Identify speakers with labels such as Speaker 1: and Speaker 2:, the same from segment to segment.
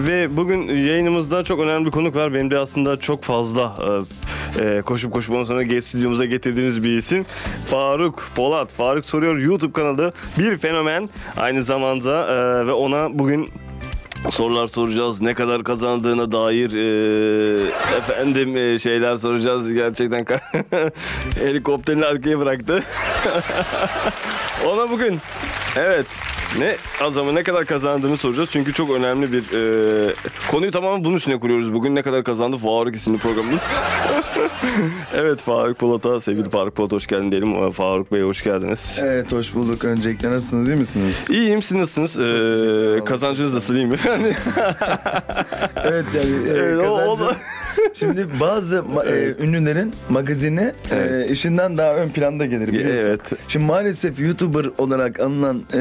Speaker 1: Ve bugün yayınımızda çok önemli bir konuk var. Benim de aslında çok fazla e, e, koşup koşup ondan sonra ge- stüdyomuza getirdiğimiz bir isim. Faruk Polat. Faruk Soruyor YouTube kanalı bir fenomen aynı zamanda e, ve ona bugün sorular soracağız. Ne kadar kazandığına dair e, efendim e, şeyler soracağız. Gerçekten ka- helikopterini arkaya bıraktı. Ona bugün evet ne azamı ne kadar kazandığını soracağız. Çünkü çok önemli bir e, konuyu tamamen bunun üstüne kuruyoruz. Bugün ne kadar kazandı Faruk isimli programımız. evet Faruk Polat'a sevgili Faruk Polat hoş geldin diyelim. E, Faruk Bey hoş geldiniz.
Speaker 2: Evet hoş bulduk. Öncelikle nasılsınız iyi misiniz?
Speaker 1: İyiyim siz nasılsınız? E,
Speaker 2: ederim.
Speaker 1: kazancınız nasıl iyi mi? Yani,
Speaker 2: evet yani e,
Speaker 1: Evet, o- o
Speaker 2: kazancı-
Speaker 1: da-
Speaker 2: Şimdi bazı ma- e, ünlülerin magazini
Speaker 1: Evet.
Speaker 2: e, işinden daha ön planda gelir biliyorsun.
Speaker 1: Evet.
Speaker 2: Şimdi maalesef YouTuber olarak anılan e,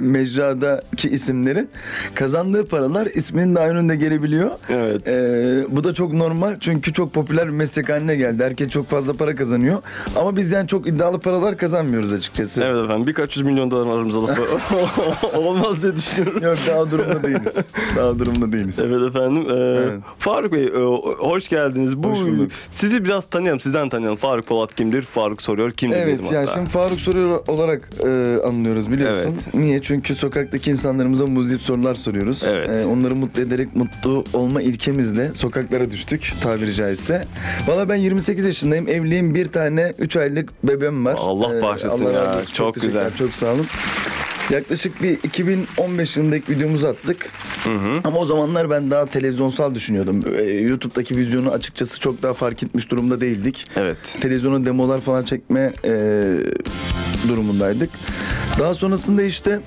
Speaker 2: mecradaki isimlerin kazandığı paralar isminin daha önünde gelebiliyor.
Speaker 1: evet.
Speaker 2: E, bu da çok normal çünkü çok popüler bir meslek haline geldi. Herkes çok fazla para kazanıyor. Ama biz yani çok iddialı paralar kazanmıyoruz açıkçası.
Speaker 1: Evet efendim birkaç yüz milyon dolar aramızda lafı olmaz diye düşünüyorum.
Speaker 2: Yok daha durumda değiliz. Daha durumda değiliz.
Speaker 1: Evet efendim. Ee,
Speaker 2: Evet.
Speaker 1: Faruk Bey e, hoş geldiniz. Bu
Speaker 2: Hoş bulduk.
Speaker 1: sizi biraz tanıyalım, sizden tanıyalım. Faruk Polat kimdir? Faruk soruyor kimdir?
Speaker 2: Evet
Speaker 1: diyelim
Speaker 2: ya
Speaker 1: hatta.
Speaker 2: şimdi Faruk soruyor olarak e, anlıyoruz biliyorsun.
Speaker 1: Evet.
Speaker 2: Niye? Çünkü sokaktaki insanlarımıza muzip sorular soruyoruz.
Speaker 1: Evet.
Speaker 2: E, onları mutlu ederek mutlu olma ilkemizle sokaklara düştük tabiri caizse. Valla ben 28 yaşındayım. Evliyim. Bir tane 3 aylık bebeğim var. E,
Speaker 1: Allah bağışlasın ya.
Speaker 2: razı olsun.
Speaker 1: Çok
Speaker 2: teşekkürler,
Speaker 1: güzel.
Speaker 2: Çok sağ olun. Yaklaşık bir 2015 yılındaki videomuzu attık. Ama o zamanlar ben daha televizyonsal düşünüyordum. E, YouTube'daki vizyonu açıkçası çok daha fark etmiş durumda değildik
Speaker 1: Evet.
Speaker 2: televizyona demolar falan çekme e, durumundaydık. Daha sonrasında işte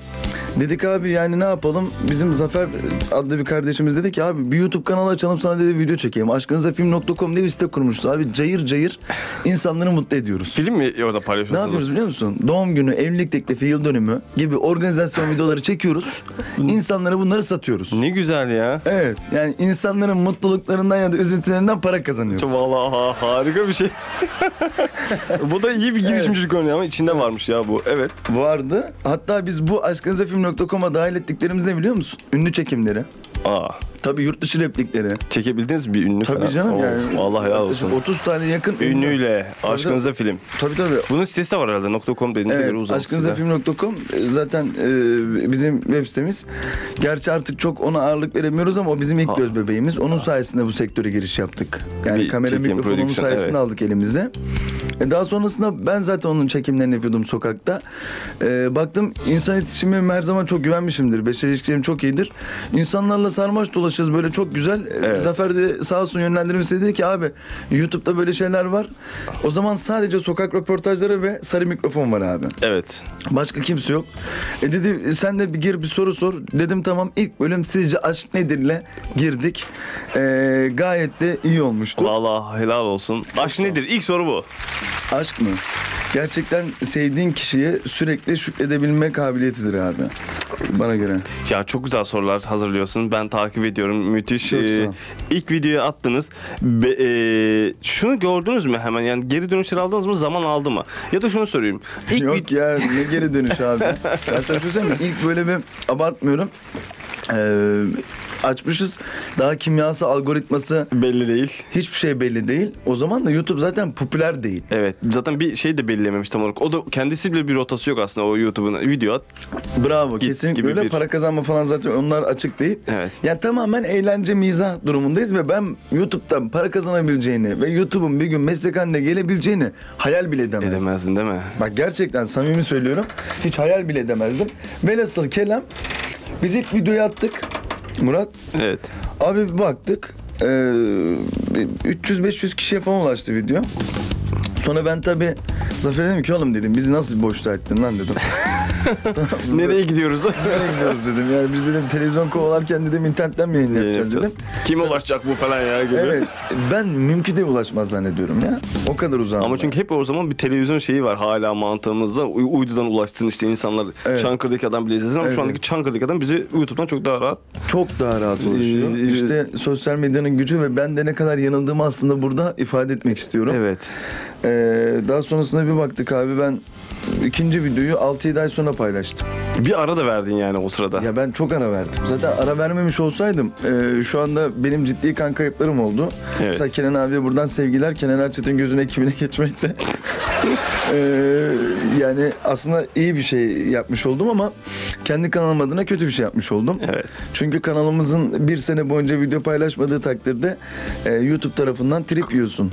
Speaker 2: dedik abi yani ne yapalım? Bizim Zafer adlı bir kardeşimiz dedi ki abi bir YouTube kanalı açalım sana dedi video çekeyim. Aşkınızafilm.com diye bir site kurmuşuz abi. Cayır cayır insanları mutlu ediyoruz.
Speaker 1: Film mi orada
Speaker 2: Ne
Speaker 1: paylaşıyorsunuz?
Speaker 2: yapıyoruz biliyor musun? Doğum günü, evlilik teklifi, yıl dönümü gibi organizasyon videoları çekiyoruz. İnsanlara bunları satıyoruz.
Speaker 1: Ne güzel ya.
Speaker 2: Evet yani insanların mutluluklarından ya da üzüntülerinden para kazanıyoruz.
Speaker 1: Çok Vallahi ha- harika bir şey. bu da iyi bir girişimcilik örneği ama içinde varmış ya bu. Evet.
Speaker 2: Vardı. Hatta biz bu aşkınızafilm.com'a dahil ettiklerimiz ne biliyor musun? Ünlü çekimleri.
Speaker 1: Aa,
Speaker 2: Tabii yurt dışı replikleri.
Speaker 1: çekebildiniz mi bir ünlü
Speaker 2: Tabii
Speaker 1: falan?
Speaker 2: canım
Speaker 1: Oo,
Speaker 2: yani.
Speaker 1: Allah helal
Speaker 2: Yaklaşık
Speaker 1: olsun.
Speaker 2: 30 tane yakın ünlü.
Speaker 1: Ünlüyle
Speaker 2: Tabii
Speaker 1: aşkınıza film.
Speaker 2: Tabii tabii.
Speaker 1: Bunun sitesi de var herhalde. .com dediğinize
Speaker 2: Evet,
Speaker 1: göre uzak size.
Speaker 2: aşkınızafilm.com e, zaten e, bizim web sitemiz. Gerçi artık çok ona ağırlık veremiyoruz ama o bizim ilk
Speaker 1: Ha.
Speaker 2: göz bebeğimiz. Onun sayesinde bu sektöre giriş yaptık. Yani
Speaker 1: Bir
Speaker 2: kamera
Speaker 1: çekim,
Speaker 2: mikrofonu onun
Speaker 1: prodüksiyon,
Speaker 2: sayesinde
Speaker 1: evet.
Speaker 2: aldık elimize. E, daha sonrasında ben zaten onun çekimlerini yapıyordum sokakta. E, baktım insan iletişimime her zaman çok güvenmişimdir. Beşer ilişkilerim çok iyidir. İnsanlarla sarmaş dolaşırız böyle çok güzel. E,
Speaker 1: Evet.
Speaker 2: Zafer de sağ olsun yönlendirmesi dedi ki abi YouTube'da böyle şeyler var. O zaman sadece sokak röportajları ve sarı mikrofon var abi.
Speaker 1: Evet.
Speaker 2: Başka kimse yok. E dedi sen de bir gir bir soru sor. Dedim tamam ilk bölüm sizce aşk nedirle girdik. E, gayet de iyi olmuştu.
Speaker 1: Vallahi helal olsun. Aşk nedir? İlk soru bu.
Speaker 2: Aşk mı? Gerçekten sevdiğin kişiye sürekli şükredebilme kabiliyetidir abi. Bana göre.
Speaker 1: Ya çok güzel sorular hazırlıyorsun. Ben takip ediyorum. Müthiş.
Speaker 2: Çok sağ ol.
Speaker 1: Ee, ilk videoyu attınız. Be- ee, şunu gördünüz mü hemen? Yani geri dönüşler aldınız mı? Zaman aldı mı? Ya da şunu sorayım. İlk
Speaker 2: Yok
Speaker 1: vid-
Speaker 2: ya ne geri dönüş abi. ya sen söylesene ilk böyle bir abartmıyorum. E, açmışız. Daha kimyası, algoritması
Speaker 1: belli değil.
Speaker 2: hiçbir şey belli değil. O zaman da YouTube zaten popüler değil.
Speaker 1: Evet. Zaten bir şey de belirlememiş tam olarak. O da kendisi bile bir rotası yok aslında o YouTube'un. Video at.
Speaker 2: Bravo
Speaker 1: Git
Speaker 2: kesinlikle
Speaker 1: gibi
Speaker 2: öyle.
Speaker 1: bir-
Speaker 2: Para kazanma falan zaten onlar açık değil.
Speaker 1: Evet.
Speaker 2: Ya tamamen eğlence mizah durumundayız ve ben YouTube'dan para kazanabileceğini ve YouTube'un bir gün meslek haline gelebileceğini hayal bile edemezdim.
Speaker 1: Edemezsin değil mi?
Speaker 2: Bak gerçekten samimi söylüyorum. Hiç hayal bile edemezdim. Velhasıl kelam biz ilk videoyu attık. Murat
Speaker 1: Evet.
Speaker 2: abi bir baktık. Ee, 300-500 kişiye falan ulaştı video. Sonra ben tabii Zafer'e dedim ki oğlum dedim bizi nasıl boşta ettin lan dedim.
Speaker 1: Nereye gidiyoruz?
Speaker 2: Nereye gidiyoruz dedim. Yani biz dedim televizyon kovalarken dedim internetten mi yayın
Speaker 1: Yayın
Speaker 2: yapacağız dedim.
Speaker 1: yapacağız. Kim ulaşacak bu falan ya gibi.
Speaker 2: Evet. Ben mümkün değil ulaşmaz zannediyorum ya. O kadar uzağım.
Speaker 1: Ama
Speaker 2: ben.
Speaker 1: çünkü hep o zaman bir televizyon şeyi var hala mantığımızda. U- uydudan ulaşsın işte insanlar.
Speaker 2: Evet.
Speaker 1: Çankırı'daki adam bile izlesin ama
Speaker 2: Evet.
Speaker 1: şu andaki Çankırı'daki adam bizi YouTube'dan çok daha rahat.
Speaker 2: çok daha rahat ulaşıyor.
Speaker 1: Ee,
Speaker 2: İşte sosyal medyanın gücü ve ben de ne kadar yanıldığımı aslında burada ifade etmek istiyorum.
Speaker 1: Evet.
Speaker 2: Ee, daha sonrasında bir baktık abi ben ikinci videoyu 6-7 ay sonra paylaştım.
Speaker 1: Bir ara da verdin yani o sırada.
Speaker 2: Ya ben çok ara verdim. Zaten ara vermemiş olsaydım e, şu anda benim ciddi kan kayıplarım oldu.
Speaker 1: Evet.
Speaker 2: Mesela Kenan abiye buradan sevgiler. Kenan Erçetin gözüne kimine geçmekte. E, yani aslında iyi bir şey yapmış oldum ama kendi kanalım adına kötü bir şey yapmış oldum.
Speaker 1: Evet.
Speaker 2: Çünkü kanalımızın bir sene boyunca video paylaşmadığı takdirde e, YouTube tarafından trip yiyorsun.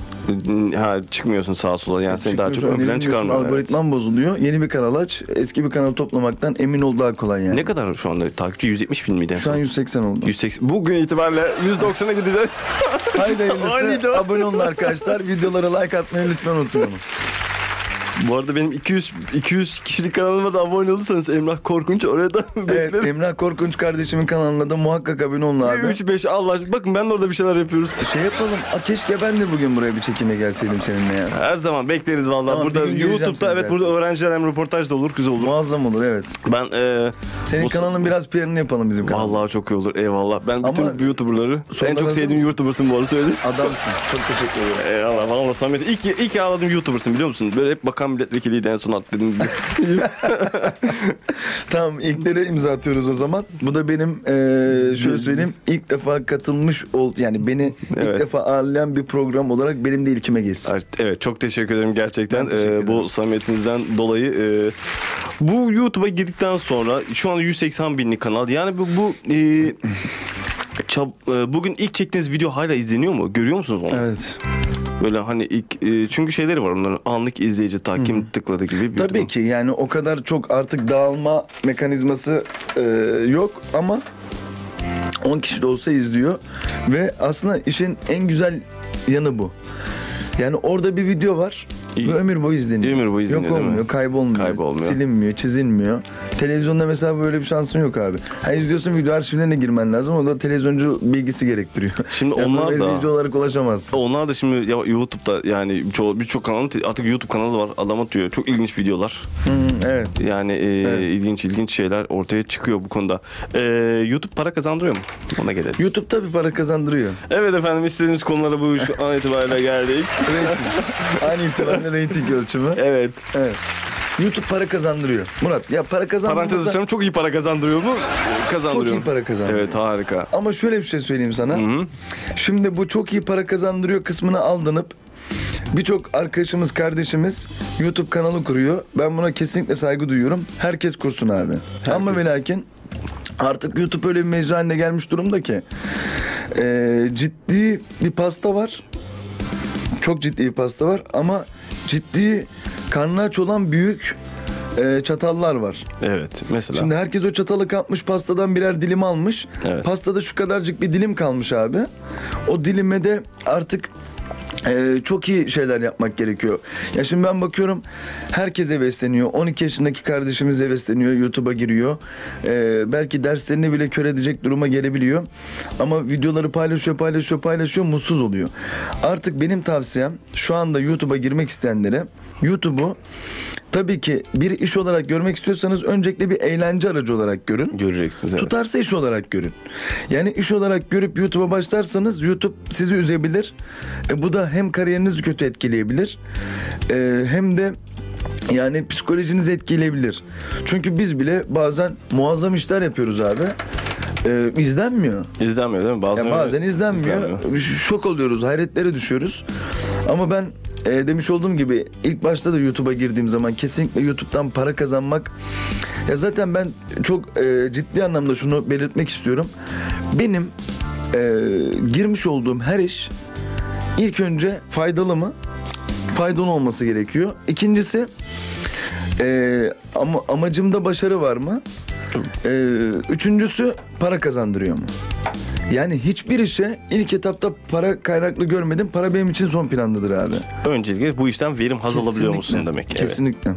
Speaker 1: Ha, çıkmıyorsun sağa sola yani seni daha çok
Speaker 2: Çıkmıyorsun,
Speaker 1: ön plan
Speaker 2: önemli diyorsun,
Speaker 1: çıkarmıyor. evet.
Speaker 2: Algoritman bozuluyor. Yeni bir kanal aç. Eski bir kanalı toplamaktan emin ol daha kolay yani.
Speaker 1: Ne kadar şu anda takipçi 170 bin miydi? en
Speaker 2: Şu an
Speaker 1: son?
Speaker 2: 180 oldu.
Speaker 1: 180. Bugün itibariyle 190'a gideceğiz.
Speaker 2: Haydi
Speaker 1: Haydi.
Speaker 2: hayırlısı. Abone olun arkadaşlar. Videolara like atmayı lütfen unutmayalım.
Speaker 1: Bu arada benim 200 200 kişilik kanalıma da abone olursanız Emrah Korkunç oraya da
Speaker 2: Evet
Speaker 1: beklerim.
Speaker 2: Emrah Korkunç kardeşimin kanalına da muhakkak abone olun abi.
Speaker 1: 3 5 Allah aşkına. Bakın ben de orada bir şeyler yapıyoruz.
Speaker 2: Şey yapalım. Aa, keşke ben de bugün buraya bir çekime gelseydim seninle ya.
Speaker 1: Her zaman bekleriz vallahi.
Speaker 2: Tamam,
Speaker 1: burada
Speaker 2: bir gün geleceğim
Speaker 1: YouTube'da
Speaker 2: size
Speaker 1: evet
Speaker 2: zaten.
Speaker 1: burada öğrenciler hem röportaj da olur güzel olur.
Speaker 2: Muazzam olur evet.
Speaker 1: Ben e,
Speaker 2: Senin
Speaker 1: Bu-
Speaker 2: kanalın biraz PR'ını yapalım bizim kanal.
Speaker 1: vallahi çok iyi olur. Eyvallah. Ben
Speaker 2: Ama-
Speaker 1: bütün YouTuber'ları
Speaker 2: Sonra
Speaker 1: en çok
Speaker 2: hazır
Speaker 1: sevdiğim
Speaker 2: mısın?
Speaker 1: YouTuber'sın bu arada söyleyeyim.
Speaker 2: Adamsın. Çok teşekkür ederim.
Speaker 1: Eyvallah valla Samet. İlk, ilk ağladığım YouTuber'sın biliyor musun? Böyle hep bakan milletvekiliydi en son atladığım gibi.
Speaker 2: Tamam ilklere imza atıyoruz o zaman. Bu da benim eee şöyle söyleyeyim ilk defa katılmış ol yani beni
Speaker 1: Evet.
Speaker 2: ilk defa ağırlayan bir program olarak benim de ilkime geçsin.
Speaker 1: Evet, Evet çok teşekkür ederim gerçekten
Speaker 2: Ben teşekkür
Speaker 1: Ee, bu
Speaker 2: ederim.
Speaker 1: samimiyetinizden dolayı. Ee, bu YouTube'a girdikten sonra şu anda 180 binlik kanal yani bu, bu ee, çab- ee, bugün ilk çektiğiniz video hala izleniyor mu? Görüyor musunuz onu?
Speaker 2: Evet.
Speaker 1: Böyle hani ilk ee, çünkü şeyleri var onların anlık izleyici takim tıkladı gibi. bir
Speaker 2: Tabii
Speaker 1: durum.
Speaker 2: ki yani o kadar çok artık dağılma mekanizması eee, yok ama 10 kişi de olsa izliyor ve aslında işin en güzel yanı bu. Yani orada bir video var
Speaker 1: İyi.
Speaker 2: ve ömür boyu izleniyor.
Speaker 1: Ömür boyu izleniyor,
Speaker 2: Yok
Speaker 1: değil mi?
Speaker 2: olmuyor, kaybolmuyor,
Speaker 1: Kaybolmuyor.
Speaker 2: silinmiyor, çizilmiyor. Televizyonda mesela böyle bir şansın yok abi. Ha izliyorsun video arşivlerine girmen lazım. O da televizyoncu bilgisi gerektiriyor.
Speaker 1: Şimdi
Speaker 2: Yani
Speaker 1: onlar
Speaker 2: böyle
Speaker 1: da-
Speaker 2: izleyici olarak ulaşamazsın.
Speaker 1: Onlar da şimdi ya YouTube'da yani çoğu- birçok kanalın artık YouTube kanalı da var adam atıyor çok ilginç videolar.
Speaker 2: Hı, evet.
Speaker 1: Yani ee,
Speaker 2: Evet.
Speaker 1: ilginç ilginç şeyler ortaya çıkıyor bu konuda. Ee, YouTube para kazandırıyor mu? Ona gelelim.
Speaker 2: YouTube tabii para kazandırıyor.
Speaker 1: Evet efendim istediğimiz konulara bu şu an itibariyle geldik.
Speaker 2: Aynı itibariyle reyting ölçümü.
Speaker 1: Evet.
Speaker 2: Evet. YouTube para kazandırıyor. Murat ya para
Speaker 1: Parantez
Speaker 2: kazandırmasa
Speaker 1: açalım çok iyi para kazandırıyor mu?
Speaker 2: çok
Speaker 1: Kazandırıyor.
Speaker 2: iyi para kazandırıyor.
Speaker 1: Evet harika.
Speaker 2: Ama şöyle bir şey söyleyeyim sana. Şimdi bu çok iyi para kazandırıyor kısmına aldanıp birçok arkadaşımız, kardeşimiz YouTube kanalı kuruyor. Ben buna kesinlikle saygı duyuyorum. Herkes kursun abi. Ama ve lakin artık YouTube öyle bir mecra haline gelmiş durumda ki eee, ciddi bir pasta var. Çok ciddi bir pasta var ama ciddi karnı aç olan büyük eee, çatallar var.
Speaker 1: Evet mesela.
Speaker 2: Şimdi herkes o çatalı kapmış pastadan birer dilim almış.
Speaker 1: Evet.
Speaker 2: Pastada şu kadarcık bir dilim kalmış abi. O dilime de artık e, çok iyi şeyler yapmak gerekiyor. Ya şimdi ben bakıyorum herkes hevesleniyor. 12 yaşındaki kardeşimiz hevesleniyor. YouTube'a giriyor. E, belki derslerini bile kör edecek duruma gelebiliyor. Ama videoları paylaşıyor, paylaşıyor, paylaşıyor. Mutsuz oluyor. Artık benim tavsiyem şu anda YouTube'a girmek isteyenlere YouTube'u tabii ki bir iş olarak görmek istiyorsanız öncelikle bir eğlence aracı olarak görün.
Speaker 1: Göreceksiniz evet.
Speaker 2: Tutarsa iş olarak görün. Yani iş olarak görüp YouTube'a başlarsanız YouTube sizi üzebilir. E, bu da hem kariyerinizi kötü etkileyebilir e, hem de yani psikolojinizi etkileyebilir. Çünkü biz bile bazen muazzam işler yapıyoruz abi. E, izlenmiyor.
Speaker 1: İzlenmiyor değil mi? Bazen,
Speaker 2: Ya
Speaker 1: öyle-
Speaker 2: bazen izlenmiyor. Ş- Şok oluyoruz, hayretlere düşüyoruz. Ama ben e, demiş olduğum gibi ilk başta da YouTube'a girdiğim zaman kesinlikle YouTube'dan para kazanmak ya zaten ben çok e, ciddi anlamda şunu belirtmek istiyorum. Benim e, girmiş olduğum her iş ilk önce faydalı mı? Faydalı olması gerekiyor. İkincisi e, ama amacımda başarı var mı? E, üçüncüsü para kazandırıyor mu? Yani hiçbir işe ilk etapta para kaynaklı görmedim. Para benim için son plandadır abi.
Speaker 1: Öncelikle bu işten verim haz alabiliyor musun
Speaker 2: Kesinlikle.
Speaker 1: demek. Evet.
Speaker 2: Kesinlikle.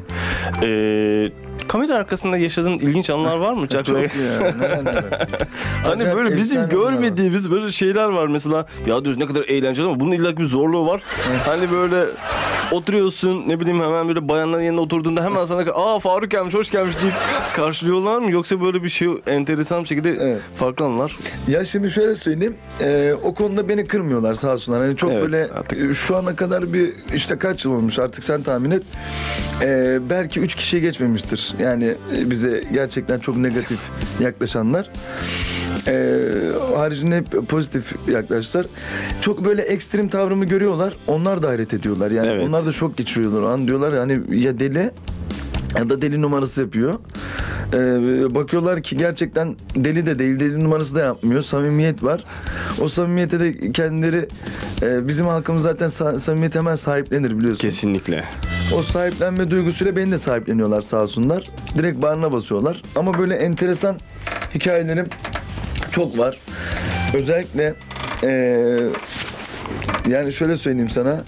Speaker 1: Ee, kamera arkasında yaşadığın ilginç anlar var mı? Çok
Speaker 2: Çok iyi ya. neler neler.
Speaker 1: Hani
Speaker 2: Acayip
Speaker 1: böyle bizim
Speaker 2: efsane anlar var.
Speaker 1: görmediğimiz böyle şeyler var mesela. Ya diyoruz ne kadar eğlenceli ama bunun illa ki bir zorluğu var. hani böyle oturuyorsun ne bileyim hemen böyle bayanların yanına oturduğunda hemen sana aa Faruk gelmiş hoş gelmiş deyip karşılıyorlar mı? Yoksa böyle bir şey enteresan bir şekilde
Speaker 2: Evet.
Speaker 1: farklı anlar.
Speaker 2: Ya şimdi şöyle söyleyeyim. Ee, o konuda beni kırmıyorlar sağ olsunlar. Hani çok
Speaker 1: Evet,
Speaker 2: böyle
Speaker 1: artık-
Speaker 2: e, şu ana kadar bir işte kaç yıl olmuş artık sen tahmin et. Ee, belki 3 kişiye geçmemiştir. Yani e, bize gerçekten çok negatif yaklaşanlar. Ee, haricinde hep pozitif yaklaştılar. Çok böyle ekstrem tavrımı görüyorlar. Onlar da hayret ediyorlar. Yani
Speaker 1: Evet.
Speaker 2: onlar da şok geçiriyorlar. O an diyorlar hani ya deli ya da deli numarası yapıyor. Ee, bakıyorlar ki gerçekten deli de değil, deli numarası da yapmıyor. Samimiyet var. O samimiyete de kendileri, e, bizim halkımız zaten sa- samimiyet hemen sahiplenir biliyorsun.
Speaker 1: Kesinlikle.
Speaker 2: O sahiplenme duygusuyla beni de sahipleniyorlar sağ olsunlar. Direkt bağrına basıyorlar. Ama böyle enteresan hikayelerim çok var. Özellikle eee, yani şöyle söyleyeyim sana.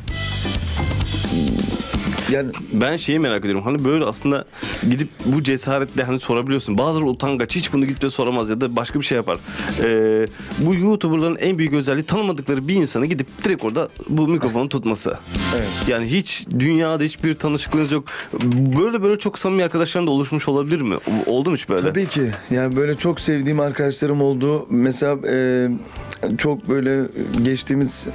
Speaker 2: Yani
Speaker 1: Ben şeyi merak ediyorum. Hani böyle aslında gidip bu cesaretle hani sorabiliyorsun. Bazıları utangaç hiç bunu gidip de soramaz ya da başka bir şey yapar. Ee, bu YouTuber'ların en büyük özelliği tanımadıkları bir insanı gidip direkt orada bu mikrofonu tutması.
Speaker 2: evet.
Speaker 1: Yani hiç dünyada hiçbir tanışıklığınız yok. Böyle böyle çok samimi arkadaşların da oluşmuş olabilir mi? Oldu mu hiç böyle?
Speaker 2: Tabii ki. Yani böyle çok sevdiğim arkadaşlarım oldu. Mesela e, çok böyle geçtiğimiz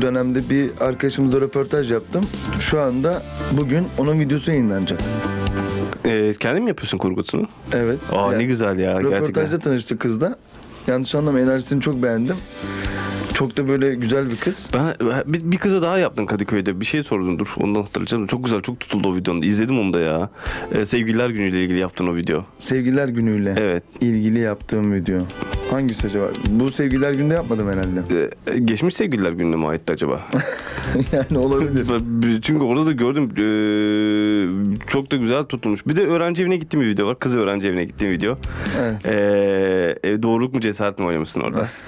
Speaker 2: dönemde bir arkadaşımızla röportaj yaptım. Şu anda bugün onun videosu yayınlanacak.
Speaker 1: Ee, kendin mi yapıyorsun kurgusunu?
Speaker 2: Evet.
Speaker 1: Aa ne
Speaker 2: Yani-
Speaker 1: güzel ya
Speaker 2: Röportajda
Speaker 1: gerçekten.
Speaker 2: tanıştık kızla. Yanlış anlama enerjisini çok beğendim. Çok da böyle güzel bir kız.
Speaker 1: Ben bir, bir kıza daha yaptın Kadıköy'de. Bir şey sordum dur ondan hatırlayacağım. Çok güzel çok tutuldu o videonun. İzledim onu da ya. Ee, sevgililer günüyle ilgili yaptın o video.
Speaker 2: Sevgililer günüyle
Speaker 1: Evet.
Speaker 2: ilgili yaptığım video. Hangisi acaba? Bu sevgililer günde yapmadım herhalde.
Speaker 1: Ee, geçmiş sevgililer gününe mi aitti acaba?
Speaker 2: yani olabilir.
Speaker 1: Ben- Çünkü orada da gördüm ee, çok da güzel tutulmuş. Bir de öğrenci evine gittiğim bir video var. Kız öğrenci evine gittiğim video.
Speaker 2: Evet.
Speaker 1: Ee, e, doğruluk mu cesaret mi oynamışsın orada?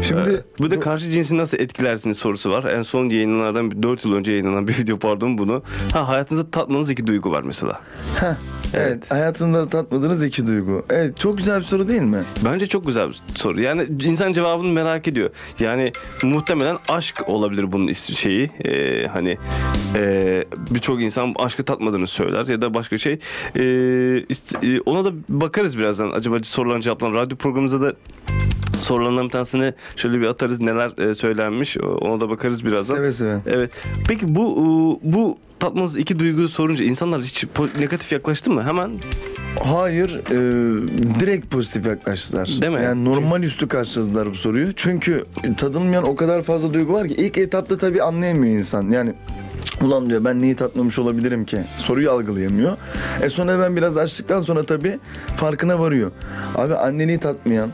Speaker 1: Ee,
Speaker 2: Şimdi
Speaker 1: Bu da karşı cinsi nasıl etkilersiniz sorusu var. En son yayınlardan 4 yıl önce yayınlanan bir video pardon bunu. Ha hayatınızda tatmanız iki duygu var mesela.
Speaker 2: Heh, evet. hayatımda tatmadığınız iki duygu. Evet çok güzel bir soru değil mi?
Speaker 1: Bence çok güzel bir soru. Yani insan cevabını merak ediyor. Yani muhtemelen aşk olabilir bunun is- şeyi. Ee, hani ee, birçok insan aşkı tatmadığını söyler ya da başka şey. Ee, ist- e, ona da bakarız birazdan. Acaba sorulan cevaplar radyo programımızda da sorulanların bir tanesini şöyle bir atarız neler e, söylenmiş. O- Ona da bakarız birazdan.
Speaker 2: Seve seve.
Speaker 1: Evet. Peki bu e, bu tatmanız iki duyguyu sorunca insanlar hiç po- negatif yaklaştı mı? Hemen
Speaker 2: Hayır, e, direkt pozitif yaklaştılar.
Speaker 1: Değil mi?
Speaker 2: Yani normal üstü karşıladılar bu soruyu. Çünkü tadılmayan o kadar fazla duygu var ki ilk etapta tabii anlayamıyor insan. Yani ulan diyor ben neyi tatmamış olabilirim ki? Soruyu algılayamıyor. E sonra ben biraz açtıktan sonra tabii farkına varıyor. Abi anneliği tatmayan,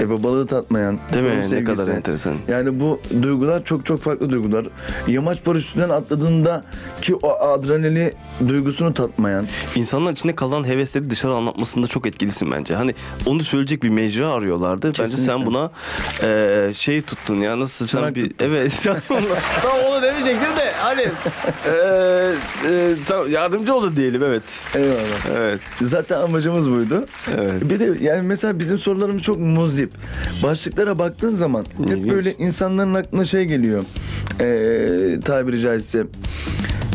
Speaker 2: e babalığı tatmayan,
Speaker 1: değil mi?
Speaker 2: onun
Speaker 1: Ne
Speaker 2: sevgisi.
Speaker 1: kadar enteresan.
Speaker 2: Yani bu duygular çok çok farklı duygular. Yamaç paraşütünden atladığında ki o adrenali duygusunu tatmayan.
Speaker 1: İnsanların içinde kalan hevesleri dışarı anlatmasında çok etkilisin bence. Hani onu söyleyecek bir mecra arıyorlardı. Bence sen
Speaker 2: Kesinlikle.
Speaker 1: buna e, şey tuttun ya nasıl sen
Speaker 2: Çanak
Speaker 1: bir...
Speaker 2: tuttun.
Speaker 1: Evet. tam onu demeyecektim de hani e, e, tam yardımcı oldu diyelim evet.
Speaker 2: Eyvallah.
Speaker 1: Evet.
Speaker 2: Zaten amacımız buydu.
Speaker 1: Evet.
Speaker 2: Bir de yani mesela bizim sorularımız çok muzip. Başlıklara baktığın zaman hep
Speaker 1: İlginç.
Speaker 2: böyle insanların aklına şey geliyor. Ee, tabiri caizse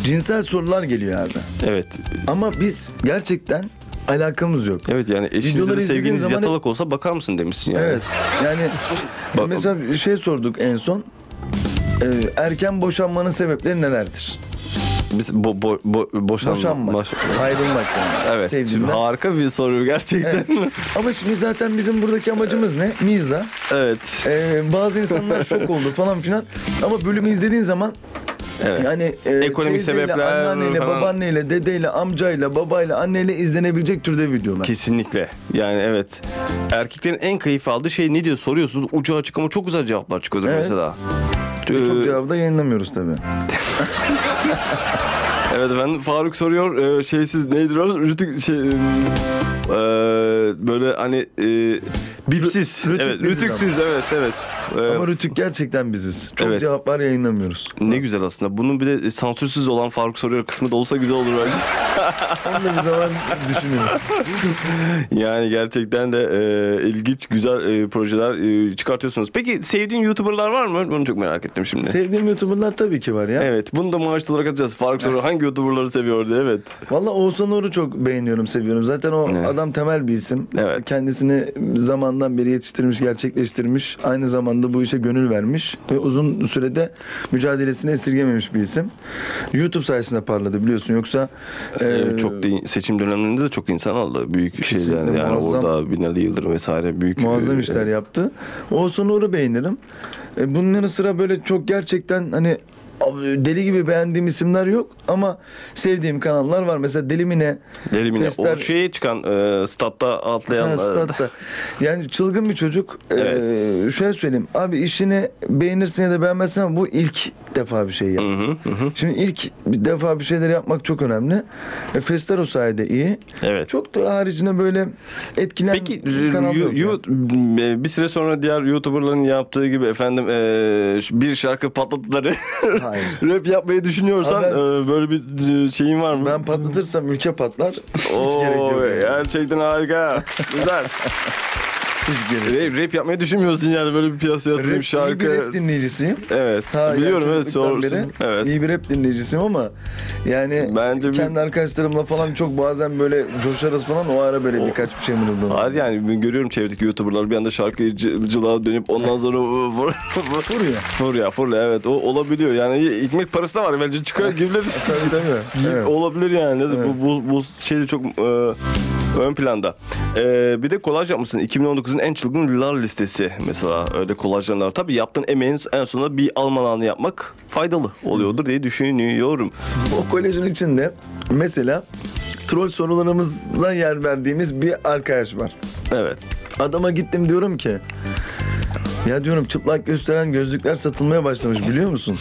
Speaker 2: cinsel sorular geliyor abi.
Speaker 1: Evet.
Speaker 2: Ama biz gerçekten alakamız yok.
Speaker 1: Evet yani
Speaker 2: Videoları
Speaker 1: eşinizle
Speaker 2: izlediğin
Speaker 1: sevgiliniz
Speaker 2: zaman hep-
Speaker 1: yatalak olsa bakar mısın demişsin yani.
Speaker 2: Evet. Yani
Speaker 1: Bak-
Speaker 2: mesela şey sorduk en son. Ee, erken boşanmanın sebepleri nelerdir?
Speaker 1: Biz bo, bo, bo, boşanma.
Speaker 2: Boşanmak,
Speaker 1: Boş-
Speaker 2: ayrılmak yani.
Speaker 1: Evet.
Speaker 2: Sevgilinden.
Speaker 1: Şimdi harika bir soru gerçekten. Evet.
Speaker 2: Ama şimdi zaten bizim buradaki amacımız ne? Miza.
Speaker 1: evet.
Speaker 2: Ee, bazı insanlar şok oldu falan filan. Ama bölümü izlediğin zaman yani e,
Speaker 1: Ekonomik
Speaker 2: teyzeyle,
Speaker 1: sebepler
Speaker 2: anneanneyle,
Speaker 1: falan.
Speaker 2: babaanneyle, dedeyle, amcayla, babayla, anneyle izlenebilecek türde videolar.
Speaker 1: Kesinlikle. Yani evet. Erkeklerin en keyif aldığı şey ne diyor soruyorsunuz. Ucu açık ama çok güzel cevaplar çıkıyordur
Speaker 2: Evet.
Speaker 1: mesela.
Speaker 2: Ve
Speaker 1: Ee,
Speaker 2: Çok cevabı da yayınlamıyoruz tabii.
Speaker 1: Evet efendim Faruk soruyor. şey, Ee, şeysiz neydi o? Rütük şey... e, böyle hani e, bipsiz.
Speaker 2: Rü-
Speaker 1: evet,
Speaker 2: rütüksiz
Speaker 1: rütüksüz evet evet. E,
Speaker 2: Ama Rütük gerçekten biziz. Çok
Speaker 1: Evet.
Speaker 2: cevaplar yayınlamıyoruz.
Speaker 1: ne güzel aslında. Bunun bir de sansürsüz olan Faruk soruyor kısmı da olsa güzel olur bence.
Speaker 2: Onu da bir zaman düşünelim.
Speaker 1: Yani gerçekten de e, ilginç güzel e, projeler e, çıkartıyorsunuz. Peki sevdiğin YouTuber'lar var mı? Bunu çok merak ettim şimdi.
Speaker 2: Sevdiğim YouTuber'lar tabii ki var ya.
Speaker 1: evet. Bunu da maaşlı olarak atacağız. Faruk soruyor hangi YouTuber'ları seviyor diye. Evet.
Speaker 2: Valla Oğuzhan Uğur'u çok beğeniyorum, seviyorum. Zaten o
Speaker 1: Evet.
Speaker 2: adam temel bir isim.
Speaker 1: Evet.
Speaker 2: Kendisini zamandan beri yetiştirmiş, gerçekleştirmiş. Aynı zamanda bu işe gönül vermiş. Ve uzun sürede mücadelesini esirgememiş bir isim. YouTube sayesinde parladı biliyorsun. Yoksa
Speaker 1: E,
Speaker 2: e,
Speaker 1: çok da in- seçim dönemlerinde de çok insan aldı. Büyük şeyler yani.
Speaker 2: Kesinlikle,
Speaker 1: Yani
Speaker 2: muazzam.
Speaker 1: orada Binali Yıldırım vesaire büyük.
Speaker 2: Muazzam
Speaker 1: e,
Speaker 2: işler yaptı. Oğuzhan Uğur'u beğenirim. E, bunun yanı sıra böyle çok gerçekten hani ab- deli gibi beğendiğim isimler yok ama sevdiğim kanallar var. Mesela Delimine
Speaker 1: Delimine. O
Speaker 2: Testler-
Speaker 1: şeye çıkan e, statta atlayan. e,
Speaker 2: Statta. Yani çılgın bir çocuk. Ee, şöyle söyleyeyim. Abi işini beğenirsin ya da beğenmezsin ama bu ilk defa bir şey yaptı.
Speaker 1: Hı hı, hı hı.
Speaker 2: Şimdi ilk bir defa bir şeyleri yapmak çok önemli. E, Fester o sayede iyi.
Speaker 1: Evet.
Speaker 2: Çok da haricinde böyle etkilen
Speaker 1: Peki
Speaker 2: kanal
Speaker 1: yu-
Speaker 2: yok ya.
Speaker 1: yu- e, bir süre sonra diğer YouTuber'ların yaptığı gibi efendim e, bir şarkı patlattıları
Speaker 2: Hayır.
Speaker 1: rap yapmayı düşünüyorsan
Speaker 2: Abi
Speaker 1: e, böyle bir e, şeyin var mı?
Speaker 2: Ben patlatırsam ülke patlar. Hiç
Speaker 1: Oo,
Speaker 2: gerek yok. yani.
Speaker 1: Gerçekten harika. Güzel.
Speaker 2: Hiç gerek yok.
Speaker 1: rap, rap yapmayı düşünmüyorsun yani böyle bir piyasaya
Speaker 2: Rap, iyi
Speaker 1: atılmış
Speaker 2: bir
Speaker 1: şarkı.
Speaker 2: rap dinleyicisiyim.
Speaker 1: evet.
Speaker 2: Ta yani
Speaker 1: Biliyorum evet
Speaker 2: çocukluktan beri
Speaker 1: sorursun. Evet.
Speaker 2: İyi bir rap dinleyicisiyim ama yani
Speaker 1: Bence bir-
Speaker 2: kendi arkadaşlarımla falan çok bazen böyle coşarız falan o ara böyle birkaç bir şey mırıldanırım.
Speaker 1: Hayır yani ben görüyorum çevredeki YouTuber'lar bir anda şarkıcılığa dönüp ondan sonra vur, vur,
Speaker 2: Dur ya.
Speaker 1: furya furya evet o olabiliyor yani ekmek parası da var bence çıkıyor gibi de bir
Speaker 2: Tabii tabii. Evet.
Speaker 1: Olabilir yani. Bu, bu, bu şey de çok e, ön planda. E, bir de kolaj yapmışsın. 2019'un en çılgın yıllar listesi mesela öyle kolajlar. Tabii yaptığın emeğin en sonunda bir almanağını yapmak faydalı oluyordur diye düşünüyorum.
Speaker 2: O kolejin içinde mesela troll sorularımıza yer verdiğimiz bir arkadaş var.
Speaker 1: Evet.
Speaker 2: Adama gittim diyorum ki ya diyorum çıplak gösteren gözlükler satılmaya başlamış biliyor musun?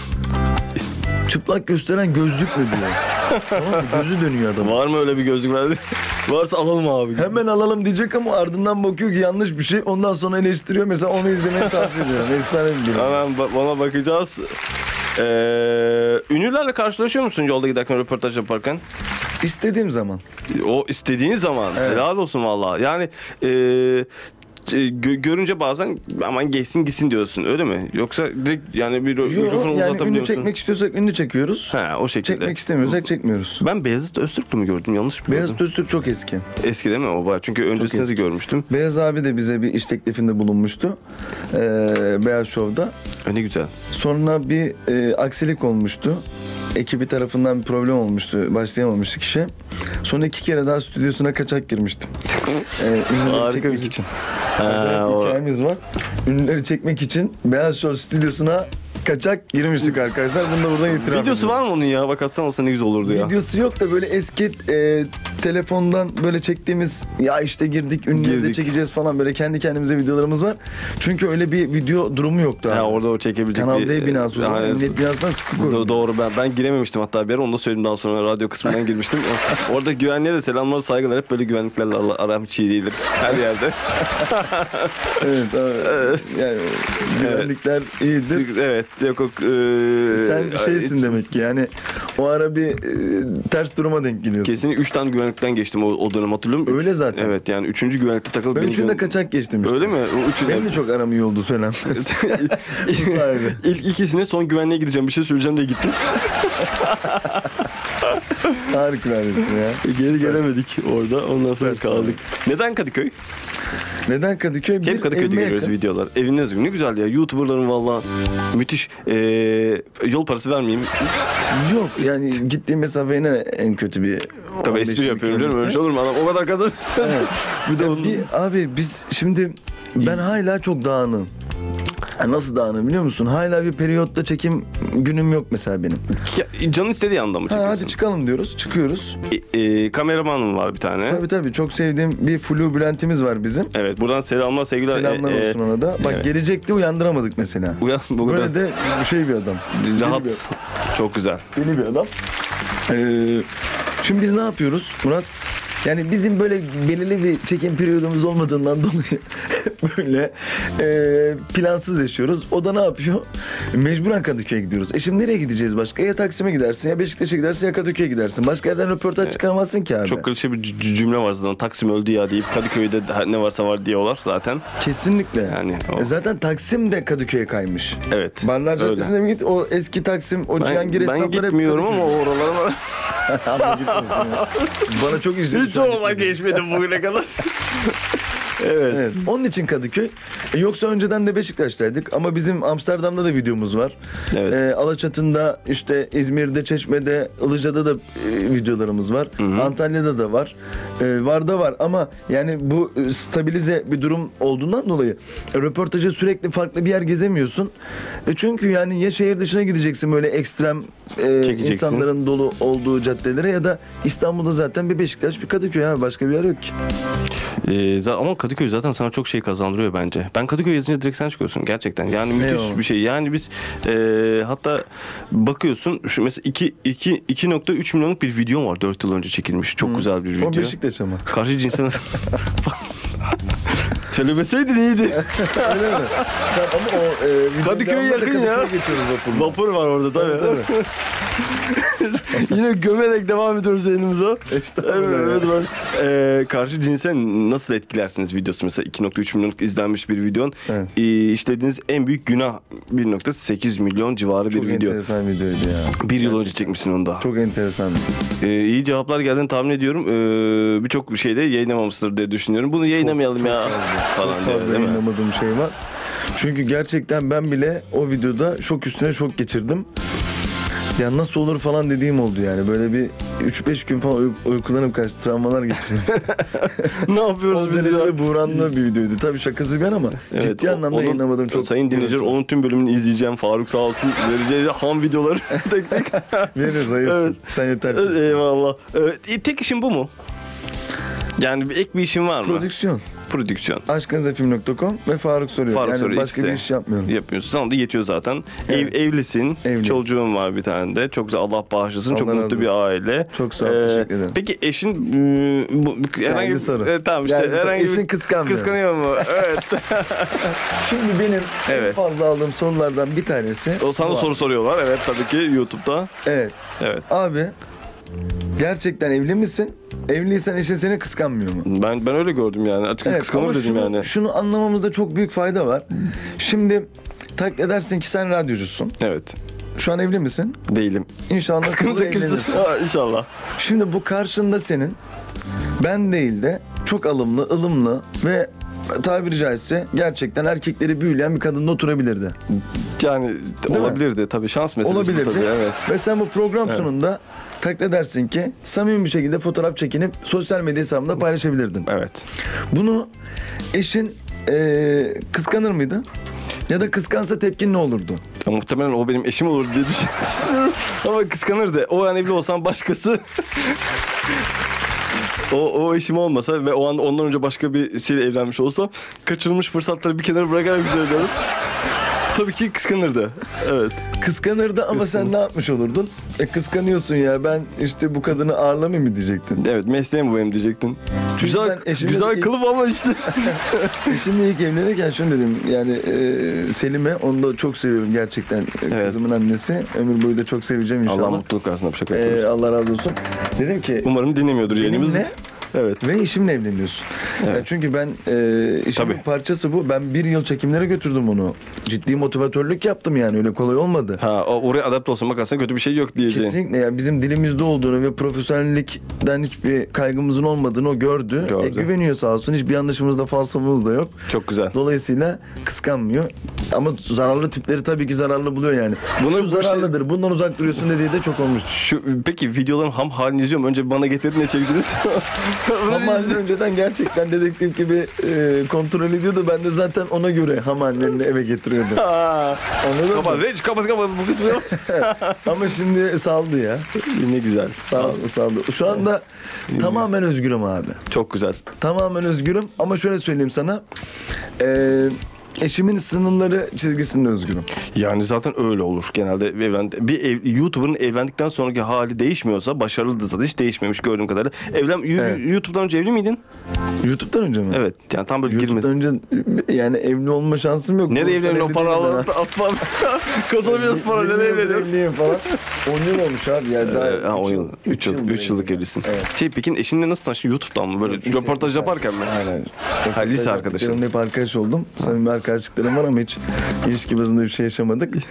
Speaker 2: Çıplak gösteren gözlük mü diyor. tamam mı? Gözü dönüyor adamın.
Speaker 1: Var mı öyle bir gözlük verdi? Varsa alalım abi.
Speaker 2: Hemen alalım diyecek ama ardından bakıyor ki yanlış bir şey. Ondan sonra eleştiriyor. Mesela onu izlemeni tavsiye ediyorum. Efsane bir bölüm.
Speaker 1: Hemen ba- bana bakacağız. E, ünlülerle karşılaşıyor musun yolda giderken röportaj yaparken?
Speaker 2: İstediğim zaman.
Speaker 1: O istediğin zaman.
Speaker 2: Evet.
Speaker 1: Helal olsun valla. Yani e, e, gö- görünce bazen aman geçsin gitsin diyorsun öyle mi? Yoksa direkt yani bir ro-
Speaker 2: Yo,
Speaker 1: mikrofonu
Speaker 2: yani
Speaker 1: uzatabiliyor
Speaker 2: ünlü
Speaker 1: musun?
Speaker 2: çekmek istiyorsak ünlü çekiyoruz.
Speaker 1: Ha, o şekilde.
Speaker 2: Çekmek istemiyorsak çekmiyoruz.
Speaker 1: Ben Beyazıt Öztürk'lü mü gördüm? Yanlış mı
Speaker 2: Beyaz
Speaker 1: gördüm?
Speaker 2: Öztürk çok eski.
Speaker 1: Eski değil mi o? Bayağı. Çünkü öncesini
Speaker 2: eski.
Speaker 1: görmüştüm.
Speaker 2: Beyaz abi de bize bir iş teklifinde bulunmuştu. Ee, Beyaz Show'da.
Speaker 1: Ö, Ne güzel.
Speaker 2: Sonra bir e, aksilik olmuştu. Ekibi tarafından bir problem olmuştu. Başlayamamıştık işe. Sonra iki kere daha stüdyosuna kaçak girmiştim. Ee, ünlüleri
Speaker 1: Harika
Speaker 2: çekmek
Speaker 1: bir- şey.
Speaker 2: için.
Speaker 1: Ha,
Speaker 2: Acayip bir
Speaker 1: Ee, o-
Speaker 2: hikayemiz var. Ünlüleri çekmek için Beyaz Show stüdyosuna kaçak girmiştik arkadaşlar. Bunu da buradan itiraf
Speaker 1: Videosu var mı onun ya? Bak atsan olsa ne güzel olurdu ya.
Speaker 2: Videosu yok da böyle eski e, telefondan böyle çektiğimiz ya işte girdik ünlüleri de
Speaker 1: Girdik.
Speaker 2: çekeceğiz falan böyle kendi kendimize videolarımız var. Çünkü öyle bir video durumu yoktu.
Speaker 1: Ha,
Speaker 2: abi.
Speaker 1: orada o çekebilecek.
Speaker 2: Kanal
Speaker 1: bir-
Speaker 2: D binası o zaman
Speaker 1: Aynen.
Speaker 2: emniyet binasından sıkı
Speaker 1: Do-
Speaker 2: koyulmuş.
Speaker 1: doğru ben ben girememiştim hatta bir ara onu da söyledim daha sonra radyo kısmından girmiştim. O- Orada güvenliğe de selamlar saygılar hep böyle güvenliklerle Allah- aram hiç iyi değildir her yerde.
Speaker 2: Evet, evet. Yani güvenlikler iyidir.
Speaker 1: evet yok e, yok. eee,
Speaker 2: Sen şeysin demek ki yani o ara bir e, ters duruma denk geliyorsun.
Speaker 1: Kesin 3 tane güvenlikten geçtim o, o dönem hatırlıyorum. Üç-
Speaker 2: Öyle zaten.
Speaker 1: Evet yani 3. güvenlikte takılıp.
Speaker 2: Ben
Speaker 1: beni
Speaker 2: üçünde
Speaker 1: güven-
Speaker 2: kaçak geçtim işte.
Speaker 1: Öyle mi? O üçü-
Speaker 2: Benim de çok aram iyi oldu söylem. Bu sayede. E,
Speaker 1: İlk ikisine son güvenliğe gideceğim bir şey söyleyeceğim diye gittim.
Speaker 2: Harikuladesin ya.
Speaker 1: Geri gelemedik orada ondan sonra
Speaker 2: Süpersin
Speaker 1: kaldık. Neden Kadıköy?
Speaker 2: Neden Kadıköy?
Speaker 1: Hep Kadıköy'de
Speaker 2: evime
Speaker 1: görüyoruz
Speaker 2: yakın.
Speaker 1: videolar. Evin ne özgü ne güzel ya. Youtuberların valla müthiş. Ee, yol parası vermeyeyim.
Speaker 2: Yok yani gittiğim mesafeye ne en kötü bir...
Speaker 1: Tabii
Speaker 2: 15
Speaker 1: espri yapıyorum
Speaker 2: kilometre.
Speaker 1: canım. Öyle şey olur mu? Adam o kadar kazanırsın. bir de onun...
Speaker 2: Bir, abi biz şimdi ben hala çok dağınığım. Ya Nasıl dağınığım biliyor musun? Hala bir periyotta çekim günüm yok mesela benim.
Speaker 1: Ya, Canın istediği anda mı
Speaker 2: Ha,
Speaker 1: çekiyorsun?
Speaker 2: hadi çıkalım diyoruz. Çıkıyoruz.
Speaker 1: E, e, kameramanım var bir tane.
Speaker 2: Tabii tabii çok sevdiğim bir Flu Bülent'imiz var bizim.
Speaker 1: Evet buradan selamlar sevgiler.
Speaker 2: Selamlar
Speaker 1: E, e,
Speaker 2: olsun ona da. Bak gelecekti uyandıramadık mesela.
Speaker 1: Uyan bu kadar
Speaker 2: Böyle de şey bir adam.
Speaker 1: rahat.
Speaker 2: Deli
Speaker 1: Çok güzel.
Speaker 2: bir- Deli bir adam. Ee, şimdi biz ne yapıyoruz Murat? Yani bizim böyle belirli bir çekim periyodumuz olmadığından dolayı böyle e, plansız yaşıyoruz. O da ne yapıyor? Mecburen Kadıköy'e gidiyoruz. E şimdi nereye gideceğiz başka? Ya Taksim'e gidersin ya Beşiktaş'a gidersin ya Kadıköy'e gidersin. Başka yerden röportaj çıkaramazsın ki abi.
Speaker 1: E, Çok klişe bir c- cümle var zaten. Taksim öldü ya deyip Kadıköy'de de ne varsa var diyorlar zaten.
Speaker 2: Kesinlikle.
Speaker 1: Yani o-
Speaker 2: E zaten Taksim de Kadıköy'e kaymış.
Speaker 1: Evet.
Speaker 2: Barlar
Speaker 1: öyle.
Speaker 2: Caddesi'ne mi git? O eski Taksim, o
Speaker 1: ben,
Speaker 2: Cihangir
Speaker 1: ben
Speaker 2: esnafları hep
Speaker 1: gitmiyorum
Speaker 2: Kadıköy.
Speaker 1: ama oralara var.
Speaker 2: Ama gitmesin ya. Bana çok üzücü.
Speaker 1: Hiç oradan geçmedim bugüne kadar. evet.
Speaker 2: Evet. Onun için Kadıköy. E, Yoksa önceden de Beşiktaş'taydık ama bizim Amsterdam'da da videomuz var.
Speaker 1: Evet.
Speaker 2: E, Alaçatı'nda, işte İzmir'de, Çeşme'de, Ilıca'da da e, videolarımız var. Antalya'da da var. E, var da var ama yani bu e, stabilize bir durum olduğundan dolayı e, röportaja sürekli farklı bir yer gezemiyorsun. E, çünkü yani ya şehir dışına gideceksin böyle ekstrem e,
Speaker 1: Çekeceksin.
Speaker 2: insanların dolu olduğu caddelere ya da İstanbul'da zaten bir Beşiktaş bir Kadıköy abi başka bir yer yok ki.
Speaker 1: Ee, za- ama Kadıköy zaten sana çok şey kazandırıyor bence. Ben Kadıköy yazınca direkt sen çıkıyorsun gerçekten. Yani müthiş
Speaker 2: o?
Speaker 1: bir şey. Yani biz e, hatta bakıyorsun şu mesela iki- iki- 2.3 milyonluk bir videom var 4 yıl önce çekilmiş. Çok güzel bir video.
Speaker 2: O Beşiktaş ama.
Speaker 1: Karşı cinsine... Söylemeseydin iyiydi.
Speaker 2: Öyle mi? Sen- ama o e, videonun
Speaker 1: Kadıköy'e
Speaker 2: devamında
Speaker 1: yakın ya.
Speaker 2: Kadıköy'e geçiyoruz vapurla.
Speaker 1: Vapur var orada tabii.
Speaker 2: Değil mi?
Speaker 1: Yine gömerek devam ediyoruz elimize.
Speaker 2: Estağfurullah
Speaker 1: Evet,
Speaker 2: ya.
Speaker 1: evet ben. Ee, karşı cinse nasıl etkilersiniz videosu mesela 2.3 milyonluk izlenmiş bir videon.
Speaker 2: Evet.
Speaker 1: Ee, işlediğiniz en büyük günah 1.8 milyon civarı
Speaker 2: Çok
Speaker 1: bir video.
Speaker 2: enteresan videoydu ya.
Speaker 1: Bir yıl önce çekmişsin onu da.
Speaker 2: Çok enteresan.
Speaker 1: Ee, iyi cevaplar geldiğini tahmin ediyorum. Ee, Birçok şeyde yayınlamamıştır diye düşünüyorum. Bunu yayınlamayalım ya falan
Speaker 2: Çok
Speaker 1: diye,
Speaker 2: fazla
Speaker 1: değil mi?
Speaker 2: inanamadığım şey var. Çünkü gerçekten ben bile o videoda şok üstüne şok geçirdim. Ya nasıl olur falan dediğim oldu yani. Böyle bir 3-5 gün falan uy- uykulanıp kaçtı. Travmalar geçirdim.
Speaker 1: ne
Speaker 2: o
Speaker 1: yapıyoruz biz ya?
Speaker 2: derecede buhranlı bir videodu. Tabii şakası bir yana ama ciddi
Speaker 1: o-
Speaker 2: anlamda
Speaker 1: onun-
Speaker 2: yayınlamadım. Çok
Speaker 1: Sayın dinleyiciler onun tüm bölümünü izleyeceğim. Faruk sağ olsun vereceği ham videoları tek tek.
Speaker 2: Veririz hayırsın.
Speaker 1: Evet.
Speaker 2: Sen yeter. ki.
Speaker 1: Eyvallah. Evet, e, tek işin bu mu? Yani bir ek bir işin var mı?
Speaker 2: Prodüksiyon.
Speaker 1: Prodüksiyon.
Speaker 2: aşkınızefilm.com ve Faruk Soruyor.
Speaker 1: Faruk
Speaker 2: yani
Speaker 1: Soruyor
Speaker 2: başka
Speaker 1: X'te.
Speaker 2: bir iş yapmıyorum.
Speaker 1: Yapıyorsun. Sana da yetiyor zaten.
Speaker 2: Evet.
Speaker 1: Ev, evlisin.
Speaker 2: Evliyim.
Speaker 1: Çocuğun var bir tane de. Çok güzel. Allah bağışlasın. Çok
Speaker 2: Allah razı
Speaker 1: mutlu bir
Speaker 2: olsun.
Speaker 1: aile. Ee,
Speaker 2: Çok sağ ol, teşekkür ederim.
Speaker 1: Peki eşin e, bu, herhangi bir
Speaker 2: soru.
Speaker 1: E, tamam işte
Speaker 2: Geldi soru.
Speaker 1: herhangi bir-
Speaker 2: Eşin kıskanmıyor mu?
Speaker 1: Kıskanıyor mu? Evet.
Speaker 2: Şimdi benim en
Speaker 1: Evet.
Speaker 2: fazla aldığım sorulardan bir tanesi.
Speaker 1: o sana
Speaker 2: bu abi.
Speaker 1: soru soruyorlar. Evet tabii ki YouTube'da.
Speaker 2: Evet.
Speaker 1: Evet.
Speaker 2: Abi gerçekten evli misin? Evliysen eşin seni kıskanmıyor mu?
Speaker 1: Ben ben öyle gördüm yani. Açıkçası
Speaker 2: Evet
Speaker 1: kıskanır
Speaker 2: ama
Speaker 1: dedim
Speaker 2: şunu,
Speaker 1: yani.
Speaker 2: şunu anlamamızda çok büyük fayda var. Şimdi taklit edersin ki sen radyocusun.
Speaker 1: Evet.
Speaker 2: Şu an evli misin?
Speaker 1: Değilim.
Speaker 2: İnşallah sonra
Speaker 1: Kıskanacak
Speaker 2: evlenirsin.
Speaker 1: kimse. Ha, İnşallah.
Speaker 2: Şimdi bu karşında senin ben değil de çok alımlı, ılımlı ve tabiri caizse gerçekten erkekleri büyüleyen bir kadınla oturabilirdi.
Speaker 1: Yani
Speaker 2: mi?
Speaker 1: olabilirdi tabii şans meselesi bu
Speaker 2: Olabilirdi.
Speaker 1: tabii evet.
Speaker 2: Ve sen bu program sonunda taklit edersin ki samimi bir şekilde fotoğraf çekinip sosyal medya hesabında paylaşabilirdin.
Speaker 1: Evet.
Speaker 2: Bunu eşin eee, kıskanır mıydı? Ya da kıskansa tepkin ne olurdu?
Speaker 1: Ya muhtemelen o benim eşim olur diye düşünüyorum. Ama kıskanırdı. O an evli olsam başkası. o, o eşim olmasa ve o an ondan önce başka birisiyle evlenmiş olsam kaçırılmış fırsatları bir kenara bırakarak güzel ediyorum. Tabii ki kıskanırdı. Evet.
Speaker 2: Kıskanırdı ama sen ne yapmış olurdun? E, kıskanıyorsun ya ben işte bu kadını ağırlamayayım mı diyecektin?
Speaker 1: Evet mesleğim bu benim diyecektin. güzel
Speaker 2: ben eşimle
Speaker 1: güzel
Speaker 2: de-
Speaker 1: kılıf ama işte.
Speaker 2: Eşimle E, ilk evlenirken şunu dedim yani e, Selim'e onu da çok seviyorum gerçekten E,
Speaker 1: Evet.
Speaker 2: kızımın annesi ömür boyu da çok seveceğim inşallah.
Speaker 1: Allah mutluluk versin. Şaka
Speaker 2: E,
Speaker 1: yapıyorum.
Speaker 2: Allah razı olsun. Dedim ki
Speaker 1: Umarım dinlemiyordur yayınımızı.
Speaker 2: benimle
Speaker 1: Evet.
Speaker 2: ve eşimle evleniyorsun. Yani çünkü ben e, işimin
Speaker 1: Tabii.
Speaker 2: parçası bu. Ben bir yıl çekimlere götürdüm onu. Ciddi motivatörlük yaptım yani öyle kolay olmadı.
Speaker 1: Ha o- oraya adapte olsun bak aslında kötü bir şey yok diyeceğin.
Speaker 2: Kesinlikle yani bizim dilimizde olduğunu ve profesyonellikten hiçbir kaygımızın olmadığını o gördü.
Speaker 1: Gördü.
Speaker 2: E, güveniyor sağ olsun. Hiçbir yanlışımızda falsamız da yok.
Speaker 1: Çok güzel.
Speaker 2: Dolayısıyla kıskanmıyor. Ama zararlı tipleri tabii ki zararlı buluyor yani.
Speaker 1: Bunu- şey-
Speaker 2: Şu
Speaker 1: bu
Speaker 2: zararlıdır. Bundan uzak duruyorsun dediği de çok olmuştur.
Speaker 1: Şu, peki videoların ham halini izliyorum. Önce bana getirdin ne çektiniz?
Speaker 2: Ama anne önceden gerçekten dedektif gibi e, kontrol ediyordu. Ben de zaten ona göre ham annenle eve getiriyordum.
Speaker 1: Aa,
Speaker 2: Anladın mı?
Speaker 1: kapat, Reç kapat kapat bu kısmı yok.
Speaker 2: Ama şimdi saldı ya.
Speaker 1: ne güzel.
Speaker 2: Sağ olsun saldı. Şu anda tamamen özgürüm abi.
Speaker 1: Çok güzel.
Speaker 2: Tamamen özgürüm ama şöyle söyleyeyim sana. Ee, eşimin sınırları çizgisinde özgürüm.
Speaker 1: Yani zaten öyle olur genelde evlen bir ev, YouTuber'ın evlendikten sonraki hali değişmiyorsa başarılıdır zaten hiç değişmemiş gördüğüm kadarıyla. Evlen Yu-
Speaker 2: Evet.
Speaker 1: YouTube'dan önce evli miydin?
Speaker 2: YouTube'dan önce mi?
Speaker 1: Evet. Yani tam böyle girmedi.
Speaker 2: YouTube'dan önce yani evli olma şansım yok.
Speaker 1: Nereye
Speaker 2: Konuştan
Speaker 1: evlenir o
Speaker 2: evli değilim ben
Speaker 1: paraları
Speaker 2: ha.
Speaker 1: atmam. Kazanacağız para nereye
Speaker 2: Bilmiyorum,
Speaker 1: evlenir?
Speaker 2: evliyim falan. 10 yıl olmuş abi yani daha
Speaker 1: Ee, ha,
Speaker 2: üç
Speaker 1: o
Speaker 2: yıl-
Speaker 1: yıl, 3
Speaker 2: üç
Speaker 1: yıl,
Speaker 2: yıl
Speaker 1: 3 yıllık
Speaker 2: evliyim.
Speaker 1: evlisin.
Speaker 2: Evet.
Speaker 1: Şey peki eşinle nasıl tanıştın? YouTube'dan mı böyle
Speaker 2: Lise-
Speaker 1: röportaj yaparken mi?
Speaker 2: Aynen.
Speaker 1: Ha, lise arkadaşın.
Speaker 2: Benim hep arkadaş oldum. Samimi arkadaşlıklarım var ama hiç ilişki bazında bir şey yaşamadık. Ee,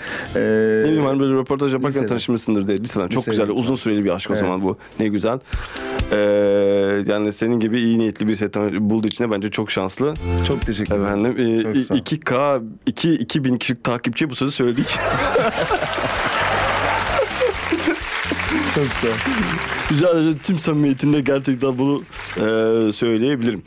Speaker 1: Bilmiyorum hani böyle röportaj yaparken
Speaker 2: Liseden.
Speaker 1: tanışmışsındır diye. Liseden. Çok
Speaker 2: Liseden
Speaker 1: güzel.
Speaker 2: itibaren.
Speaker 1: Uzun süreli bir aşk o
Speaker 2: Evet.
Speaker 1: zaman bu. Ne güzel. Ee, yani senin gibi iyi niyetli bir setten bulduğu için de bence çok şanslı.
Speaker 2: çok teşekkür ederim.
Speaker 1: Efendim e,
Speaker 2: Çok sağ ol.
Speaker 1: 2K 2 2000 kişilik takipçiye bu sözü söyledik.
Speaker 2: Çok sağ ol.
Speaker 1: Rica ederim tüm samimiyetimle gerçekten bunu e, söyleyebilirim.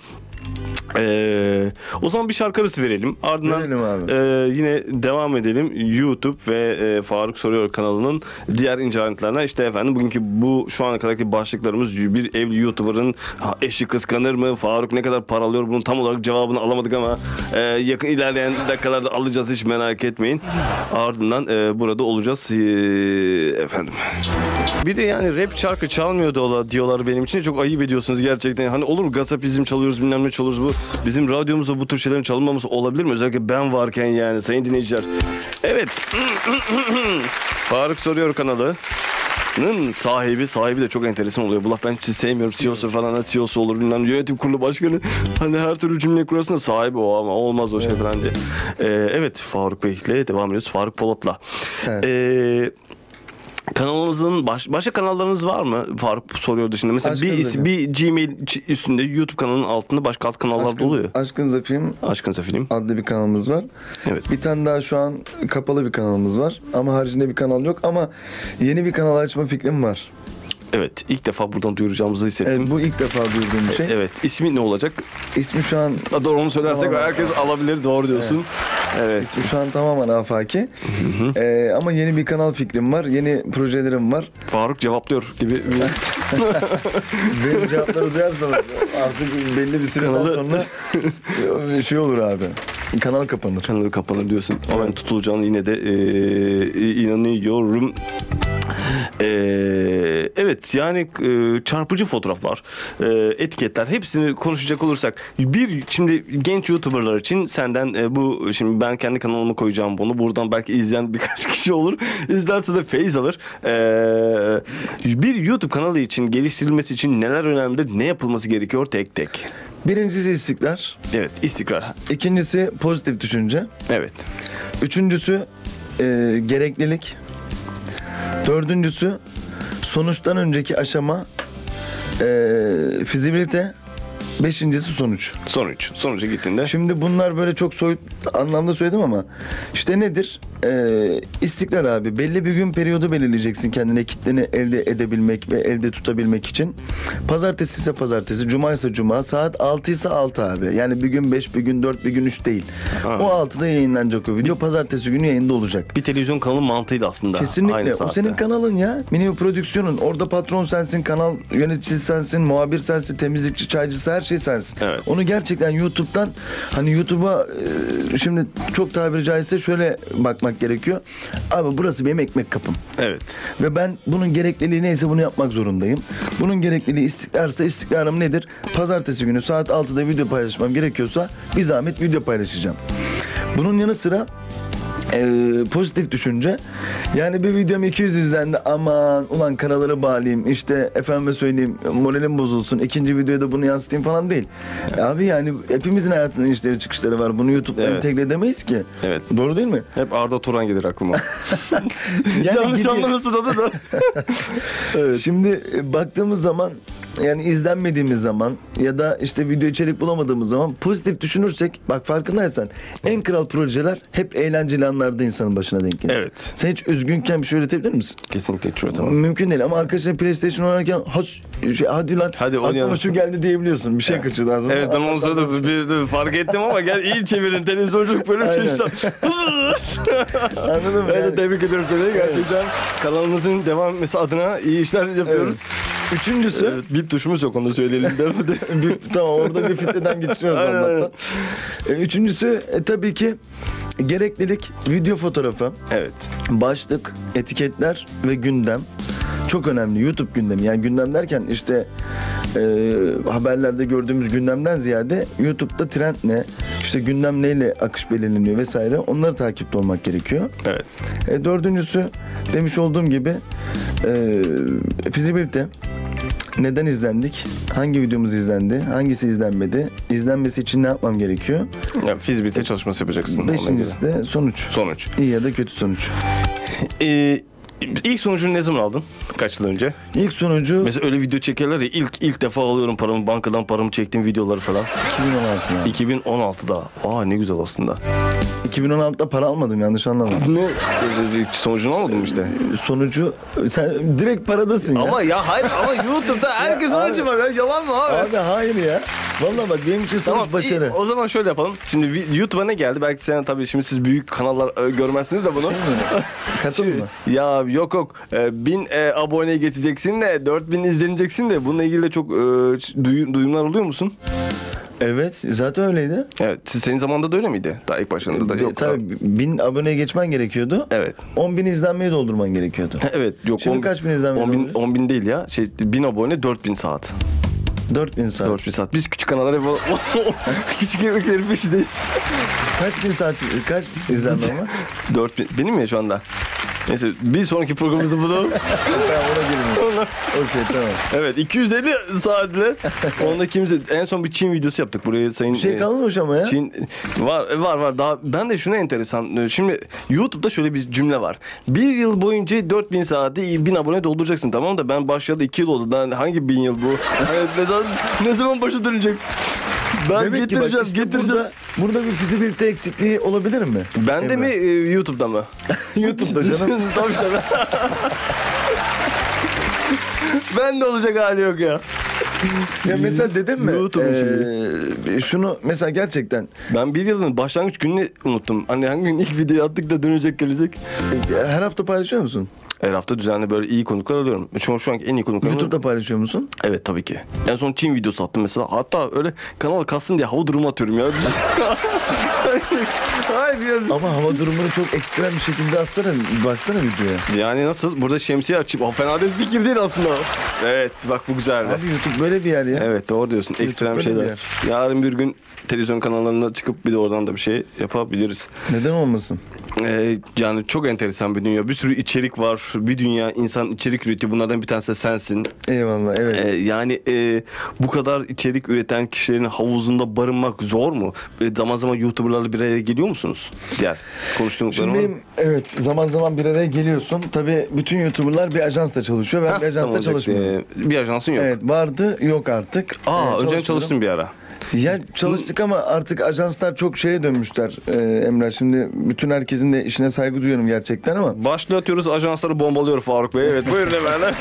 Speaker 1: E, o zaman bir şarkı arası verelim. Ardından
Speaker 2: Verelim abi.
Speaker 1: e, yine devam edelim. YouTube ve e, Faruk Soruyor kanalının diğer incelenmelerine işte efendim bugünkü bu şu ana kadarki başlıklarımız bir evli YouTuber'ın ha, eşi kıskanır mı? Faruk ne kadar para alıyor? Bunun tam olarak cevabını alamadık ama e, yakın ilerleyen dakikalarda alacağız hiç merak etmeyin. Ardından e, burada olacağız E, efendim. Bir de yani rap şarkı çalmıyor dola diyorlar benim için. Çok ayıp ediyorsunuz gerçekten. Hani olur mu gazapizm çalıyoruz bilmem ne çalıyoruz bu. Bizim radyomuzda bu tür şeylerin çalınmaması olabilir mi? Özellikle ben varken yani sayın dinleyiciler. Evet. Faruk Soruyor kanalı. Nın sahibi sahibi de çok enteresan oluyor. Bu laf ben hiç sevmiyorum. CEO'su falan ha, CEO'su olur bilmem yönetim kurulu başkanı. Hani her türlü cümle kurarsın da sahibi o ama olmaz o şey falan diye. Ee, evet Faruk Bey'le devam ediyoruz. Faruk Polat'la.
Speaker 2: Evet.
Speaker 1: Ee, Kanalımızın baş- başka kanallarınız var mı? Faruk soruyordu şimdi. Mesela
Speaker 2: Aşkın
Speaker 1: bir, is-
Speaker 2: Zafer.
Speaker 1: bir Gmail ç- üstünde YouTube kanalının altında başka alt kanallar
Speaker 2: Aşkın,
Speaker 1: doluyor.
Speaker 2: Aşkın Zafer'in
Speaker 1: Aşkınsa film.
Speaker 2: adlı bir kanalımız var.
Speaker 1: Evet.
Speaker 2: Bir tane daha şu an kapalı bir kanalımız var. Ama haricinde bir kanal yok ama yeni bir kanal açma fikrim var.
Speaker 1: Evet. ilk defa buradan duyuracağımızı
Speaker 2: Evet,
Speaker 1: hissettim.
Speaker 2: bu ilk defa duyduğum bir şey.
Speaker 1: E, Evet. ismi ne olacak?
Speaker 2: İsmi şu an
Speaker 1: Ha, Doğru onu söylersek
Speaker 2: Tamam.
Speaker 1: herkes alabilir. Doğru diyorsun. Evet.
Speaker 2: İsmi şu an tamamen afaki. Ee, ama yeni bir kanal fikrim var. Yeni projelerim var.
Speaker 1: Faruk cevaplıyor gibi. bir-
Speaker 2: Benim cevapları duyarsanız artık belli bir süreden
Speaker 1: Kanalı-
Speaker 2: sonra e, şey olur abi. Kanal kapanır.
Speaker 1: kanalı kapanır diyorsun. Ama ben tutulacağını yine de eee, inanıyorum. Eee, evet yani eee, çarpıcı fotoğraflar, eee, etiketler hepsini konuşacak olursak bir şimdi genç youtuberlar için senden eee, bu şimdi ben kendi kanalıma koyacağım bunu buradan belki izleyen birkaç kişi olur izlerse de feyiz alır Eee, bir YouTube kanalı için geliştirilmesi için neler önemlidir ne yapılması gerekiyor tek tek
Speaker 2: Birincisi istikrar.
Speaker 1: evet istikrar
Speaker 2: ikincisi pozitif düşünce.
Speaker 1: evet
Speaker 2: Üçüncüsü e, gereklilik. Dördüncüsü sonuçtan önceki aşama e, fizibilite. Beşincisi sonuç.
Speaker 1: sonuç sonuca gittiğinde
Speaker 2: Şimdi bunlar böyle çok soyut anlamda söyledim ama işte nedir? Ee, istikrar abi. Belli bir gün periyodu belirleyeceksin kendine kitleni elde edebilmek ve elde tutabilmek için. Pazartesi ise pazartesi, cuma ise cuma, saat 6 ise 6 abi. Yani bir gün 5, bir gün 4, bir gün 3 değil.
Speaker 1: Ha.
Speaker 2: O 6'da yayınlanacak o video. Pazartesi günü yayında olacak.
Speaker 1: bir televizyon kanalı mantığıydı aslında.
Speaker 2: Kesinlikle.
Speaker 1: Aynı
Speaker 2: O
Speaker 1: saatte.
Speaker 2: senin kanalın ya. Mini prodüksiyonun. Orada patron sensin, kanal yöneticisi sensin, muhabir sensin, temizlikçi, çaycısı her şey sensin.
Speaker 1: Evet.
Speaker 2: Onu gerçekten YouTube'dan hani YouTube'a e, şimdi çok tabiri caizse şöyle bakmak gerekiyor. Abi burası benim ekmek kapım.
Speaker 1: Evet.
Speaker 2: Ve ben bunun gerekliliği neyse bunu yapmak zorundayım. Bunun gerekliliği istikrarsa istikrarım nedir? Pazartesi günü saat 6'da video paylaşmam gerekiyorsa bir zahmet video paylaşacağım. Bunun yanı sıra eee, pozitif düşünce. Yani bir videom 200 izlendi aman ulan karaları bağlayayım işte efendime söyleyeyim moralim bozulsun ikinci videoya da bunu yansıtayım falan değil. E Abi yani hepimizin hayatının işleri çıkışları var bunu YouTube'da
Speaker 1: Evet.
Speaker 2: entegre edemeyiz ki.
Speaker 1: Evet.
Speaker 2: Doğru değil mi?
Speaker 1: Hep Arda Turan gelir aklıma. Yanlış
Speaker 2: gidiyor-
Speaker 1: anlamasın adı da.
Speaker 2: Şimdi e, baktığımız zaman yani izlenmediğimiz zaman ya da işte video içerik bulamadığımız zaman pozitif düşünürsek bak farkındaysan en kral projeler hep eğlenceli anlarda insanın başına denk geliyor.
Speaker 1: Evet.
Speaker 2: Sen hiç üzgünken bir şey öğretebilir misin?
Speaker 1: Kesinlikle hiç tamam.
Speaker 2: Mümkün değil ama arkadaşlar PlayStation oynarken has, şey, hadi lan
Speaker 1: Hadi oynayalım."
Speaker 2: aklıma şu geldi diyebiliyorsun. Bir şey kaçıyor lazım.
Speaker 1: Evet ben o sırada bir, bir fark ettim ama gel iyi çevirin televizyonculuk bölüm şey
Speaker 2: Aynen.
Speaker 1: işte.
Speaker 2: Anladın mı?
Speaker 1: ben de
Speaker 2: Yani-
Speaker 1: tebrik ediyorum seni. Gerçekten kanalımızın devam etmesi adına iyi işler yapıyoruz.
Speaker 2: Üçüncüsü
Speaker 1: Evet, bip tuşumuz yok onu da söyleyelim de.
Speaker 2: bir, tamam orada bir filtreden geçiriyoruz
Speaker 1: Aynen,
Speaker 2: anlattan. E, Üçüncüsü e, tabii ki gereklilik video fotoğrafı,
Speaker 1: evet.
Speaker 2: başlık, etiketler ve gündem. Çok önemli YouTube gündemi. Yani gündem derken işte e, haberlerde gördüğümüz gündemden ziyade YouTube'da trend ne, işte gündem neyle akış belirleniyor vesaire onları takipte olmak gerekiyor.
Speaker 1: Evet.
Speaker 2: E, dördüncüsü demiş olduğum gibi e, fizibilite. Neden izlendik? Hangi videomuz izlendi? Hangisi izlenmedi? İzlenmesi için ne yapmam gerekiyor?
Speaker 1: Ya, fizbite çalışması yapacaksın. ona göre.
Speaker 2: Beşincisi de sonuç.
Speaker 1: Sonuç.
Speaker 2: İyi ya da kötü sonuç.
Speaker 1: Ee, ilk sonucunu ne zaman aldın? Kaç yıl önce?
Speaker 2: İlk sonucu
Speaker 1: Mesela öyle video çekerler ya ilk ilk defa alıyorum paramı bankadan paramı çektiğim videoları falan.
Speaker 2: 2016 yani.
Speaker 1: 2016'da. Aa ne güzel aslında.
Speaker 2: 2016'da para almadım yanlış anlama.
Speaker 1: Ne? Sonucunu almadım işte.
Speaker 2: Sonucu sen direkt paradasın ya.
Speaker 1: Ama ya hayır ama YouTube'da herkes sonucu var ya yalan mı abi?
Speaker 2: Abi hayır ya. Vallahi bak benim için sonuç
Speaker 1: Tamam,
Speaker 2: başarı.
Speaker 1: iyi. o zaman şöyle yapalım. Şimdi vi- YouTube'a ne geldi? Belki sen tabii şimdi siz büyük kanallar e, görmezsiniz de bunu. şey
Speaker 2: Katıl mı?
Speaker 1: Ya yok yok. E, bin e, aboneye geçeceksin de 4000 izleneceksin de bununla ilgili de çok e, duyu- duyumlar oluyor musun?
Speaker 2: Evet zaten öyleydi.
Speaker 1: Evet. siz- Senin zamanında da öyle miydi? Daha ilk başlarında da yok.
Speaker 2: Tabii bin aboneye geçmen gerekiyordu.
Speaker 1: Evet.
Speaker 2: 10 bin izlenmeyi doldurman gerekiyordu.
Speaker 1: Evet yok.
Speaker 2: Şimdi
Speaker 1: on-
Speaker 2: kaç bin izlenme
Speaker 1: 10 bin,
Speaker 2: oluyor?
Speaker 1: 10 bin değil ya. Şey 1000 abone 4000 saat.
Speaker 2: 4 bin saat.
Speaker 1: 4000 saat. Biz küçük kanallar hep o- küçük emeklerin peşindeyiz.
Speaker 2: Kaç bin saat, kaç izlenme var?
Speaker 1: 4000 benim ya şu anda. Neyse bir sonraki programımızı bulalım.
Speaker 2: ben ona girmiyorum.
Speaker 1: Ondan-
Speaker 2: Okey tamam.
Speaker 1: evet 250 saatle onda kimse en son bir Çin videosu yaptık buraya sayın
Speaker 2: Bir şey
Speaker 1: e,
Speaker 2: kalmamış ama ya.
Speaker 1: Çin var var var daha ben de şuna enteresan e, şimdi YouTube'da şöyle bir cümle var. Bir yıl boyunca 4000 saati 1000 abone dolduracaksın tamam da ben başlayalı 2 yıl oldu. Ben hangi 1000 yıl bu? Hani ne zaman ne zaman başa dönecek? Ben
Speaker 2: Demek ki bak
Speaker 1: getireceğim
Speaker 2: işte
Speaker 1: getireceğim.
Speaker 2: Burada, burada bir fizibilite eksikliği olabilir mi?
Speaker 1: Ben de
Speaker 2: Emre?
Speaker 1: mi e, YouTube'da mı?
Speaker 2: YouTube'da canım.
Speaker 1: Tabii canım. ben de olacak hali yok ya.
Speaker 2: ya mesela dedim mi?
Speaker 1: YouTube'un
Speaker 2: eee, şunu mesela gerçekten
Speaker 1: Ben bir yılın başlangıç gününü unuttum. Hani hangi gün ilk videoyu attık da dönecek gelecek.
Speaker 2: e, her hafta paylaşıyor musun? Her
Speaker 1: Her hafta düzenli böyle iyi konuklar alıyorum. Şu, an- şu anki en iyi konuklarım.
Speaker 2: YouTube'da paylaşıyor musun?
Speaker 1: Evet tabii ki. En son Çin videosu attım mesela. Hatta öyle kanal kalsın diye hava durumu atıyorum ya. Hayır ya.
Speaker 2: Ama hava durumunu çok ekstrem bir şekilde atsana. Baksana videoya.
Speaker 1: Yani nasıl? Burada şemsiye açıp ha, fena da bir fikir değil aslında. Evet bak bu güzeldi.
Speaker 2: Abi YouTube böyle bir yer ya.
Speaker 1: Evet doğru diyorsun. Ekstrem
Speaker 2: böyle bir
Speaker 1: şeyler.
Speaker 2: yer.
Speaker 1: Yarın bir gün televizyon kanallarına çıkıp bir de oradan da bir şey yapabiliriz.
Speaker 2: Neden olmasın?
Speaker 1: Ee, yani çok enteresan bir dünya. Bir sürü içerik var. Bir dünya insan içerik üretiyor. Bunlardan bir tanesi de sensin.
Speaker 2: Eyvallah evet.
Speaker 1: Ee, yani e, bu kadar içerik üreten kişilerin havuzunda barınmak zor mu? E, zaman zaman YouTuber'larla bir araya geliyor musunuz? Diğer konuştuklarım
Speaker 2: Şimdi evet zaman zaman bir araya geliyorsun. Tabii bütün YouTuber'lar bir ajansta çalışıyor. Ben bir ajansta çalışmıyorum.
Speaker 1: Ee, Bir ajansın yok.
Speaker 2: Evet vardı yok artık.
Speaker 1: Aa
Speaker 2: Ee,
Speaker 1: önceden
Speaker 2: çalışmıyorum.
Speaker 1: çalıştım bir ara.
Speaker 2: Ya çalıştık ama artık ajanslar çok şeye dönmüşler Ee, Emrah. Şimdi bütün herkesin de işine saygı duyuyorum gerçekten ama
Speaker 1: Başlatıyoruz ajansları bombalıyor Faruk Bey. Evet buyurun efendim.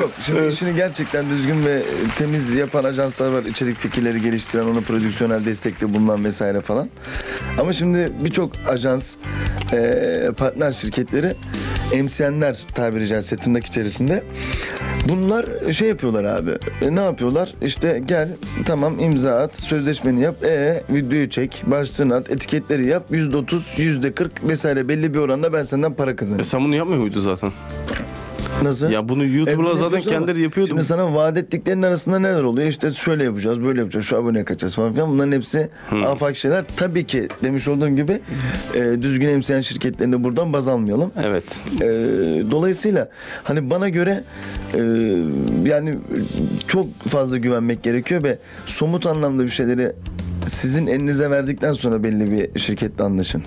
Speaker 2: yok. Şimdi işini gerçekten düzgün ve e, temiz yapan ajanslar var. İçerik fikirleri geliştiren, ona prodüksiyonel destekte bulunan vesaire falan. Ama şimdi birçok ajans, ee, partner şirketleri emsiyenler tabiri caizse tırnak içerisinde. Bunlar şey yapıyorlar abi. E, ne yapıyorlar? İşte gel tamam imza at, sözleşmeni yap, e videoyu çek, başlığını at, etiketleri yap. %30, %40 vesaire belli bir oranda ben senden para
Speaker 1: E,
Speaker 2: kazanırım.
Speaker 1: sen bunu yapmıyor muydun zaten?
Speaker 2: Nasıl?
Speaker 1: Ya bunu
Speaker 2: E, bunu
Speaker 1: YouTuber'lar zaten
Speaker 2: yapıyorsun ama
Speaker 1: kendileri yapıyordu.
Speaker 2: Şimdi sana vaat ettiklerinin arasında neler oluyor? İşte şöyle yapacağız, böyle yapacağız, şu aboneye kaçacağız falan filan. Bunların hepsi
Speaker 1: Hmm.
Speaker 2: afak şeyler. Tabii ki demiş olduğum gibi e, düzgün emsiyen şirketlerini buradan baz almayalım.
Speaker 1: Evet.
Speaker 2: E, dolayısıyla hani bana göre e, yani çok fazla güvenmek gerekiyor ve somut anlamda bir şeyleri sizin elinize verdikten sonra belli bir şirketle anlaşın.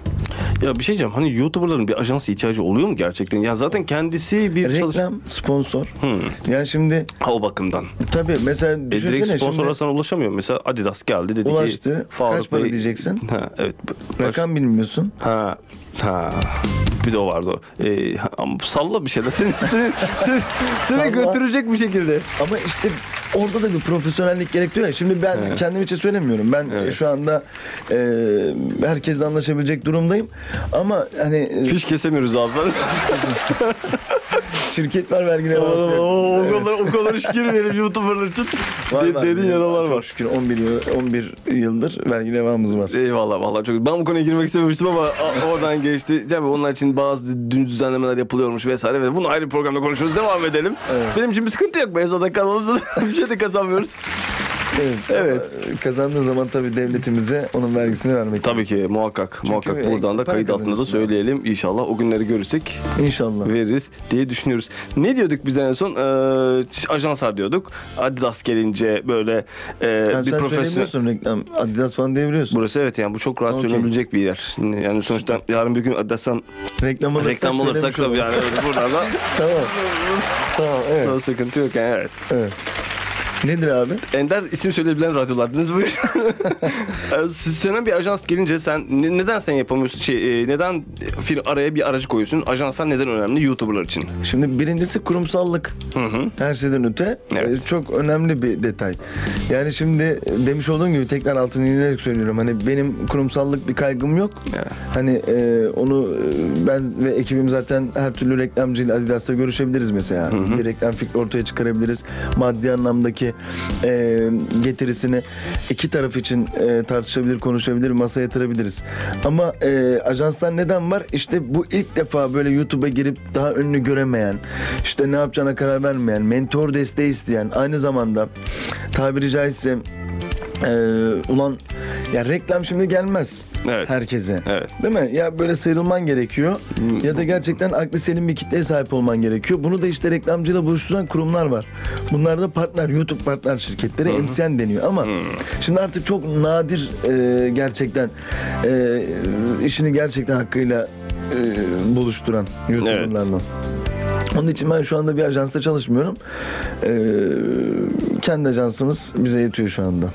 Speaker 1: Ya bir şey diyeceğim. Hani YouTuber'ların bir ajansa ihtiyacı oluyor mu gerçekten? Ya zaten kendisi bir çalış...
Speaker 2: Reklam, sponsor. Yani şimdi
Speaker 1: Ha o bakımdan.
Speaker 2: tabii mesela
Speaker 1: E, direkt
Speaker 2: düşünsene
Speaker 1: sponsorlara
Speaker 2: şimdi
Speaker 1: sana ulaşamıyor. Mesela Adidas geldi dedi ki...
Speaker 2: Ulaştı.
Speaker 1: Faruk
Speaker 2: Kaç para
Speaker 1: Bey-
Speaker 2: diyeceksin?
Speaker 1: Ha evet. B-
Speaker 2: rakam bilmiyorsun.
Speaker 1: Ha. Ha. Bir de o vardı. o. E, ha- ama salla bir şeyler. Seni, seni, seni, seni
Speaker 2: Salla.
Speaker 1: götürecek bir şekilde.
Speaker 2: Ama işte orada da bir profesyonellik gerektiriyor. ya. Şimdi ben kendim için söylemiyorum. Ben
Speaker 1: Evet.
Speaker 2: şu anda e, herkesle anlaşabilecek durumdayım. Ama hani e,
Speaker 1: Fiş kesemiyoruz abi.
Speaker 2: Şirketler vergileri
Speaker 1: Oğlum,
Speaker 2: basıyor.
Speaker 1: o, o kadar, o kadar iş girmeyelim YouTuber'lar için.
Speaker 2: Var
Speaker 1: De,
Speaker 2: var,
Speaker 1: dediğin
Speaker 2: biliyorum.
Speaker 1: yaralar
Speaker 2: Çok
Speaker 1: var.
Speaker 2: Şükür 11 yıl 11 yıldır vergi levhamız var.
Speaker 1: Eyvallah vallahi çok. Ben bu konuya girmek istememiştim ama a- oradan geçti. Tabii onlar için bazı dün düzenlemeler yapılıyormuş vesaire ve bunu ayrı bir programda konuşuruz. Devam edelim.
Speaker 2: Evet.
Speaker 1: Benim için bir sıkıntı yok. Ben zaten kanalımızda bir şey de kazanmıyoruz.
Speaker 2: Evet.
Speaker 1: Evet.
Speaker 2: Ama Kazandığı zaman tabii devletimize onun vergisini vermek.
Speaker 1: Tabii ki muhakkak. muhakkak
Speaker 2: e,
Speaker 1: buradan da
Speaker 2: para
Speaker 1: kayıt altında da
Speaker 2: kazanıyorsun yani.
Speaker 1: söyleyelim. İnşallah o günleri görürsek
Speaker 2: İnşallah.
Speaker 1: veririz diye düşünüyoruz. Ne diyorduk biz en son? Ee, ajanslar diyorduk. Adidas gelince böyle e,
Speaker 2: Yani
Speaker 1: bir
Speaker 2: sen
Speaker 1: profesyonel...
Speaker 2: söyleyebiliyorsun reklam. Adidas falan diyebiliyorsun.
Speaker 1: Burası evet yani bu çok rahat
Speaker 2: Okey.
Speaker 1: söylenebilecek bir yer. Yani sonuçta yarın bir gün Adidas'tan
Speaker 2: Reklam alırsak
Speaker 1: reklam olursak
Speaker 2: söylemiş
Speaker 1: tabii
Speaker 2: olalım.
Speaker 1: yani öyle buradan da
Speaker 2: Tamam. tamam evet.
Speaker 1: sonra sıkıntı yok yani evet.
Speaker 2: evet. Nedir abi?
Speaker 1: Ender isim söyleyebilen radyolardınız buyur. Siz- Sana bir ajans gelince sen ne- neden sen yapamıyorsun şey e, neden fir araya bir aracı koyuyorsun? Ajanslar neden önemli YouTuber'lar için?
Speaker 2: Şimdi birincisi kurumsallık.
Speaker 1: Hı hı.
Speaker 2: Her şeyden öte
Speaker 1: Evet.
Speaker 2: e, çok önemli bir detay. Yani şimdi e, demiş olduğum gibi tekrar altını inerek söylüyorum. Hani benim kurumsallık bir kaygım yok.
Speaker 1: Evet.
Speaker 2: Hani e, onu e, ben ve ekibim zaten her türlü reklamcıyla Adidas'la görüşebiliriz mesela. Bir reklam fikri ortaya çıkarabiliriz. Maddi anlamdaki e, getirisini iki taraf için e, tartışabilir, konuşabilir, masaya yatırabiliriz. Ama e, ajanslar neden var? İşte bu ilk defa böyle YouTube'a girip daha önünü göremeyen, işte ne yapacağına karar vermeyen, mentor desteği isteyen, aynı zamanda tabiri caizse e, ulan ya reklam şimdi gelmez
Speaker 1: Evet.
Speaker 2: herkese.
Speaker 1: Evet.
Speaker 2: Değil mi? Ya böyle sıyrılman gerekiyor ya da gerçekten aklı senin bir kitleye sahip olman gerekiyor. Bunu da işte reklamcıyla buluşturan kurumlar var. Bunlar da partner, YouTube partner şirketleri MCN deniyor ama şimdi artık çok nadir e, gerçekten e, işini gerçekten hakkıyla e, buluşturan YouTuber'larla. Onun için ben şu anda bir ajansta çalışmıyorum. E, kendi ajansımız bize yetiyor şu anda.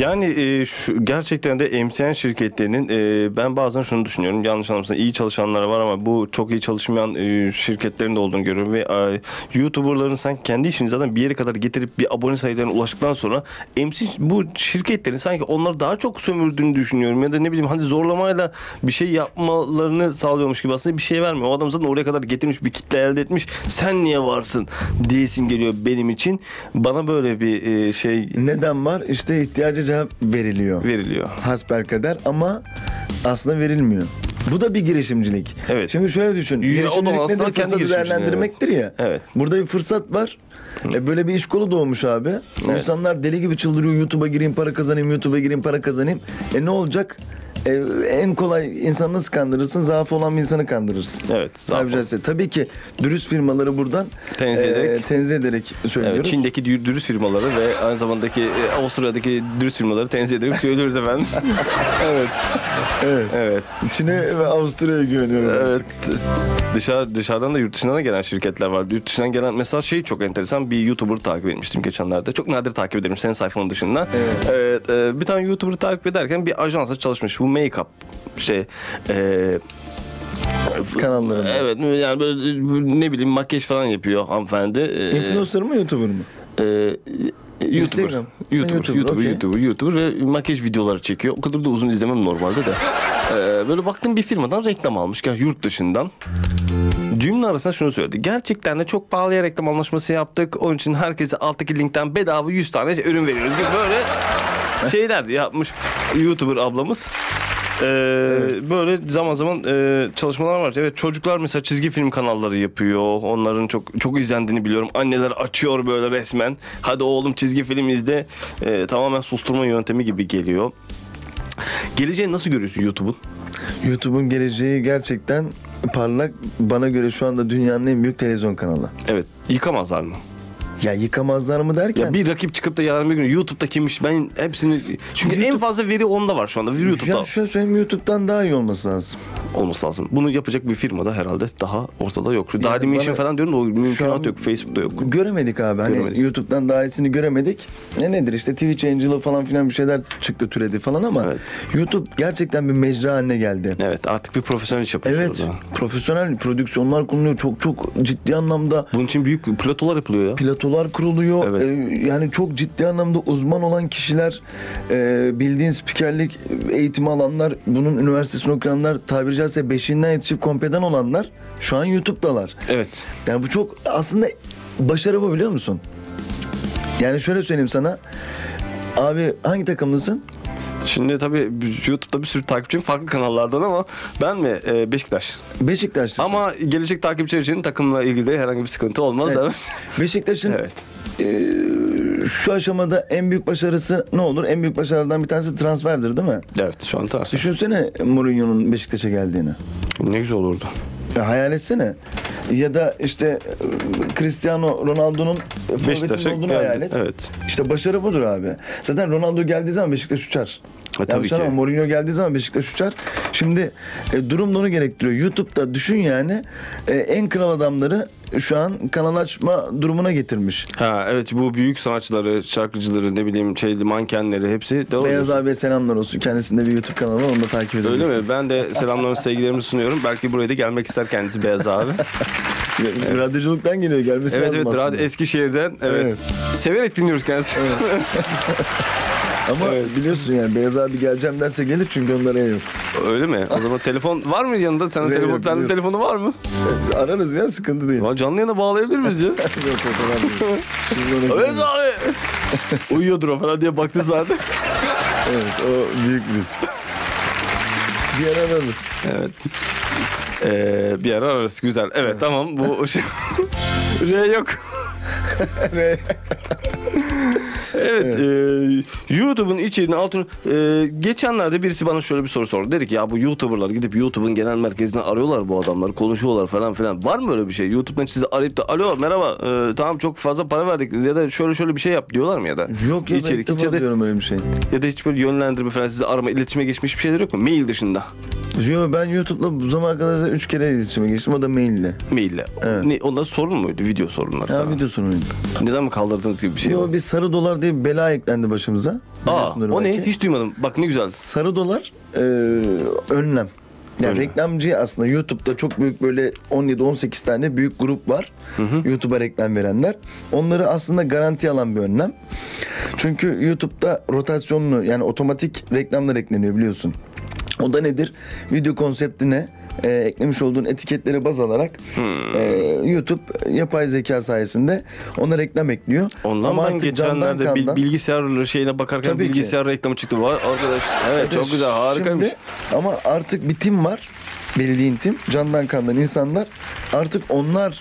Speaker 1: Yani e, şu, gerçekten de MTN şirketlerinin e, ben bazen şunu düşünüyorum yanlış anlamasın iyi çalışanları var ama bu çok iyi çalışmayan e, şirketlerin de olduğunu görüyorum ve e, YouTuber'ların sanki kendi işini zaten bir yere kadar getirip bir abone sayılarına ulaştıktan sonra MC bu şirketlerin sanki onları daha çok sömürdüğünü düşünüyorum ya da ne bileyim hani zorlamayla bir şey yapmalarını sağlıyormuş gibi aslında bir şey vermiyor. O adam zaten oraya kadar getirmiş bir kitle elde etmiş. Sen niye varsın diyesim geliyor benim için. Bana böyle bir e, şey
Speaker 2: Neden var? İşte ihtiyaca cevap veriliyor.
Speaker 1: veriliyor.
Speaker 2: hasbelkader ama aslında verilmiyor. Bu da bir girişimcilik.
Speaker 1: Evet.
Speaker 2: Şimdi şöyle düşün.
Speaker 1: Ya, o da
Speaker 2: girişimcilik
Speaker 1: aslında
Speaker 2: nedir?
Speaker 1: kendi
Speaker 2: Fırsatı
Speaker 1: girişimciliği,
Speaker 2: değerlendirmektir ya.
Speaker 1: Evet.
Speaker 2: Burada bir fırsat var. E böyle bir iş kolu doğmuş abi. İnsanlar deli gibi çıldırıyor. YouTube'a gireyim para kazanayım, YouTube'a gireyim para kazanayım. E ne olacak? E, en kolay insanı nasıl kandırırsın? Zaaf olan bir insanı kandırırsın.
Speaker 1: Evet, zaaf
Speaker 2: Tabiri caizse. Tabii ki dürüst firmaları buradan e,
Speaker 1: Tenzih ederek.
Speaker 2: tenzih ederek söylüyoruz.
Speaker 1: Evet, Çin'deki dü- dürüst firmaları ve aynı zamandaki e, Avusturya'daki dürüst firmaları tenzih ederim söylüyoruz efendim. evet.
Speaker 2: Evet.
Speaker 1: Evet.
Speaker 2: Çin'e ve Avusturya'ya güveniyoruz.
Speaker 1: Evet. Dışarı, dışarıdan da yurt dışından da gelen şirketler var. Yurt dışından gelen mesela şey çok enteresan bir YouTuber takip etmiştim geçenlerde. Çok nadir takip ederim senin sayfanın dışında.
Speaker 2: Evet.
Speaker 1: Evet, e, bir tane YouTuber takip ederken bir ajansa çalışmış. Bu make-up şey e,
Speaker 2: Kanallarında.
Speaker 1: evet yani böyle e, ne bileyim makyaj falan yapıyor hanımefendi. E,
Speaker 2: Influencer mı YouTuber mı?
Speaker 1: Ee, YouTuber.
Speaker 2: Instagram.
Speaker 1: YouTuber,
Speaker 2: Ha, YouTuber,
Speaker 1: YouTuber,
Speaker 2: okey.
Speaker 1: YouTuber, YouTuber ve makyaj videoları çekiyor. O kadar da uzun izlemem normalde de. Ee, böyle baktım bir firmadan reklam almış. Yani yurt dışından. Cümle arasında şunu söyledi. Gerçekten de çok pahalıya reklam anlaşması yaptık. Onun için herkese alttaki linkten bedava 100 tane ürün veriyoruz gibi böyle şeyler yapmış YouTuber ablamız. Ee, Böyle zaman zaman e, çalışmalar var. Evet çocuklar mesela çizgi film kanalları yapıyor. Onların çok çok izlendiğini biliyorum. Anneler açıyor böyle resmen. Hadi oğlum çizgi film izle. Ee, tamamen susturma yöntemi gibi geliyor. Geleceğini nasıl görüyorsun YouTube'un?
Speaker 2: YouTube'un geleceği gerçekten parlak. Bana göre şu anda dünyanın en büyük televizyon kanalı.
Speaker 1: Evet yıkamazlar mı?
Speaker 2: Ya yıkamazlar mı derken?
Speaker 1: Ya bir rakip çıkıp da yarın bir gün YouTube'da kimmiş ben hepsini... Çünkü en fazla veri onda var şu anda. YouTube'da
Speaker 2: Ya şöyle söyleyeyim YouTube'dan daha iyi olması lazım.
Speaker 1: olması lazım. Bunu yapacak bir firmada herhalde daha ortada yok. Şu
Speaker 2: Yani
Speaker 1: Daily Mission
Speaker 2: bana-
Speaker 1: falan diyorum da o
Speaker 2: an-
Speaker 1: mümkünat yok. Facebook'ta yok.
Speaker 2: Göremedik abi. Hani
Speaker 1: Göremedik.
Speaker 2: YouTube'dan daha iyisini göremedik. Ne nedir işte Twitch Angel'ı falan filan bir şeyler çıktı türedi falan ama
Speaker 1: Evet.
Speaker 2: YouTube gerçekten bir mecra haline geldi.
Speaker 1: Evet artık bir profesyonel iş yapıyoruz
Speaker 2: Evet.
Speaker 1: orada.
Speaker 2: Profesyonel prodüksiyonlar konuluyor. Çok çok ciddi anlamda
Speaker 1: Bunun için büyük platolar yapılıyor ya.
Speaker 2: platolar tiyatrolar kuruluyor.
Speaker 1: Evet.
Speaker 2: E, yani çok ciddi anlamda uzman olan kişiler, e, bildiğin spikerlik eğitimi alanlar, bunun üniversitesini okuyanlar, tabiri caizse beşinden yetişip kompeden olanlar şu an YouTube'dalar.
Speaker 1: Evet.
Speaker 2: Yani bu çok aslında başarı bu biliyor musun? Yani şöyle söyleyeyim sana. Abi hangi takımlısın?
Speaker 1: Şimdi tabii YouTube'da bir sürü takipçim farklı kanallardan ama ben mi? Ee, Beşiktaş.
Speaker 2: Beşiktaşlısın.
Speaker 1: Ama gelecek takipçiler için takımla ilgili de herhangi bir sıkıntı olmaz.
Speaker 2: Evet.
Speaker 1: Evet.
Speaker 2: Beşiktaş'ın e,
Speaker 1: evet.
Speaker 2: şu aşamada en büyük başarısı ne olur? En büyük başarılardan bir tanesi transferdir değil mi?
Speaker 1: Evet şu an transfer.
Speaker 2: Düşünsene Mourinho'nun Beşiktaş'a geldiğini.
Speaker 1: Ne güzel olurdu.
Speaker 2: E, hayal etsene. Ya da işte e, Cristiano Ronaldo'nun forvetin
Speaker 1: Beşiktaş'a
Speaker 2: olduğunu
Speaker 1: geldi.
Speaker 2: hayal et.
Speaker 1: Evet.
Speaker 2: İşte başarı budur abi. Zaten Ronaldo geldiği zaman Beşiktaş uçar.
Speaker 1: E, tabii
Speaker 2: Yanlış anlama,
Speaker 1: ki.
Speaker 2: Mourinho geldiği zaman Beşiktaş uçar. Şimdi e, durum da onu gerektiriyor. YouTube'da düşün yani e, en kral adamları şu an kanal açma durumuna getirmiş.
Speaker 1: Ha evet bu büyük sanatçıları, şarkıcıları ne bileyim şeyli mankenleri hepsi devam
Speaker 2: Beyaz
Speaker 1: ediyor.
Speaker 2: abiye selamlar olsun. Kendisinde bir YouTube kanalı var. Onu da takip
Speaker 1: Öyle
Speaker 2: edebilirsiniz.
Speaker 1: mi? Ben de selamlarımı, sevgilerimi sunuyorum. Belki buraya da gelmek ister kendisi Beyaz abi.
Speaker 2: Evet. Radyoculuktan geliyor. Gelmesi
Speaker 1: evet
Speaker 2: lazım
Speaker 1: evet
Speaker 2: aslında.
Speaker 1: Rad- Eskişehir'den. Evet.
Speaker 2: Evet.
Speaker 1: Severek dinliyoruz kendisini.
Speaker 2: Ama
Speaker 1: Evet.
Speaker 2: biliyorsun yani Beyaz abi geleceğim derse gelir çünkü onlara yok.
Speaker 1: Öyle mi? O zaman telefon var mı yanında? Senin telefon,
Speaker 2: Veriyorum,
Speaker 1: senin
Speaker 2: biliyorsun.
Speaker 1: telefonu var mı?
Speaker 2: E, Ararız ya sıkıntı değil.
Speaker 1: Ya canlı yana bağlayabilir miyiz ya?
Speaker 2: Yok, o kadar değil. Şimdi ona
Speaker 1: evet
Speaker 2: gidelim.
Speaker 1: abi. Uyuyordur o falan diye baktı zaten.
Speaker 2: Evet o büyük bir risk. bir ara ararız.
Speaker 1: Evet. Ee, bir ara ararız. Güzel. Evet, tamam. Bu şey... R yok.
Speaker 2: Re-
Speaker 1: Evet. ee, YouTube'un içeriğini altını... ee, geçenlerde birisi bana şöyle bir soru sordu. Dedi ki ya bu YouTuber'lar gidip YouTube'un genel merkezine arıyorlar bu adamlar. Konuşuyorlar falan filan. Var mı öyle bir şey? YouTube'dan sizi arayıp da alo merhaba ee, tamam çok fazla para verdik ya da şöyle şöyle bir şey yap diyorlar mı ya da?
Speaker 2: Yok ya
Speaker 1: İçerik,
Speaker 2: İçerik, ben ilk defa
Speaker 1: içeri-
Speaker 2: diyorum öyle bir şey.
Speaker 1: Ya da hiç böyle yönlendirme falan sizi arama, iletişime geçmiş bir şeyler yok mu? Mail dışında.
Speaker 2: Yo, ben YouTube'la bu zaman arkadaşlar 3 kere iletişime geçtim. O da maille.
Speaker 1: Maille.
Speaker 2: Evet.
Speaker 1: Ne, onlar sorun muydu? Video sorunları
Speaker 2: Ya
Speaker 1: falan.
Speaker 2: video sorunuydu.
Speaker 1: Neden mi kaldırdınız gibi bir şey
Speaker 2: Yo,
Speaker 1: var?
Speaker 2: bir sarı dolar diye bir bela eklendi başımıza.
Speaker 1: Aa,
Speaker 2: Biliyorsundur
Speaker 1: o ne?
Speaker 2: belki.
Speaker 1: Hiç duymadım. Bak ne güzel.
Speaker 2: Sarı dolar e, önlem. Yani
Speaker 1: Önlem.
Speaker 2: reklamcı aslında YouTube'da çok büyük böyle 17-18 tane büyük grup var. YouTube'a reklam verenler. Onları aslında garanti alan bir önlem. Çünkü YouTube'da rotasyonlu yani otomatik reklamlar ekleniyor biliyorsun. O da nedir? Video konseptine e, eklemiş olduğun etiketlere baz alarak e, YouTube yapay zeka sayesinde ona reklam ekliyor.
Speaker 1: Ondan
Speaker 2: Ama
Speaker 1: ben
Speaker 2: artık candan
Speaker 1: geçenlerde bil,
Speaker 2: kandan-
Speaker 1: bilgisayar şeyine bakarken
Speaker 2: Tabii ki.
Speaker 1: bilgisayar reklamı çıktı. Vay arkadaş. Evet
Speaker 2: Evet,
Speaker 1: çok güzel harikaymış.
Speaker 2: şimdi ama artık bir tim var. Bildiğin tim. Candan kandan insanlar. Artık onlar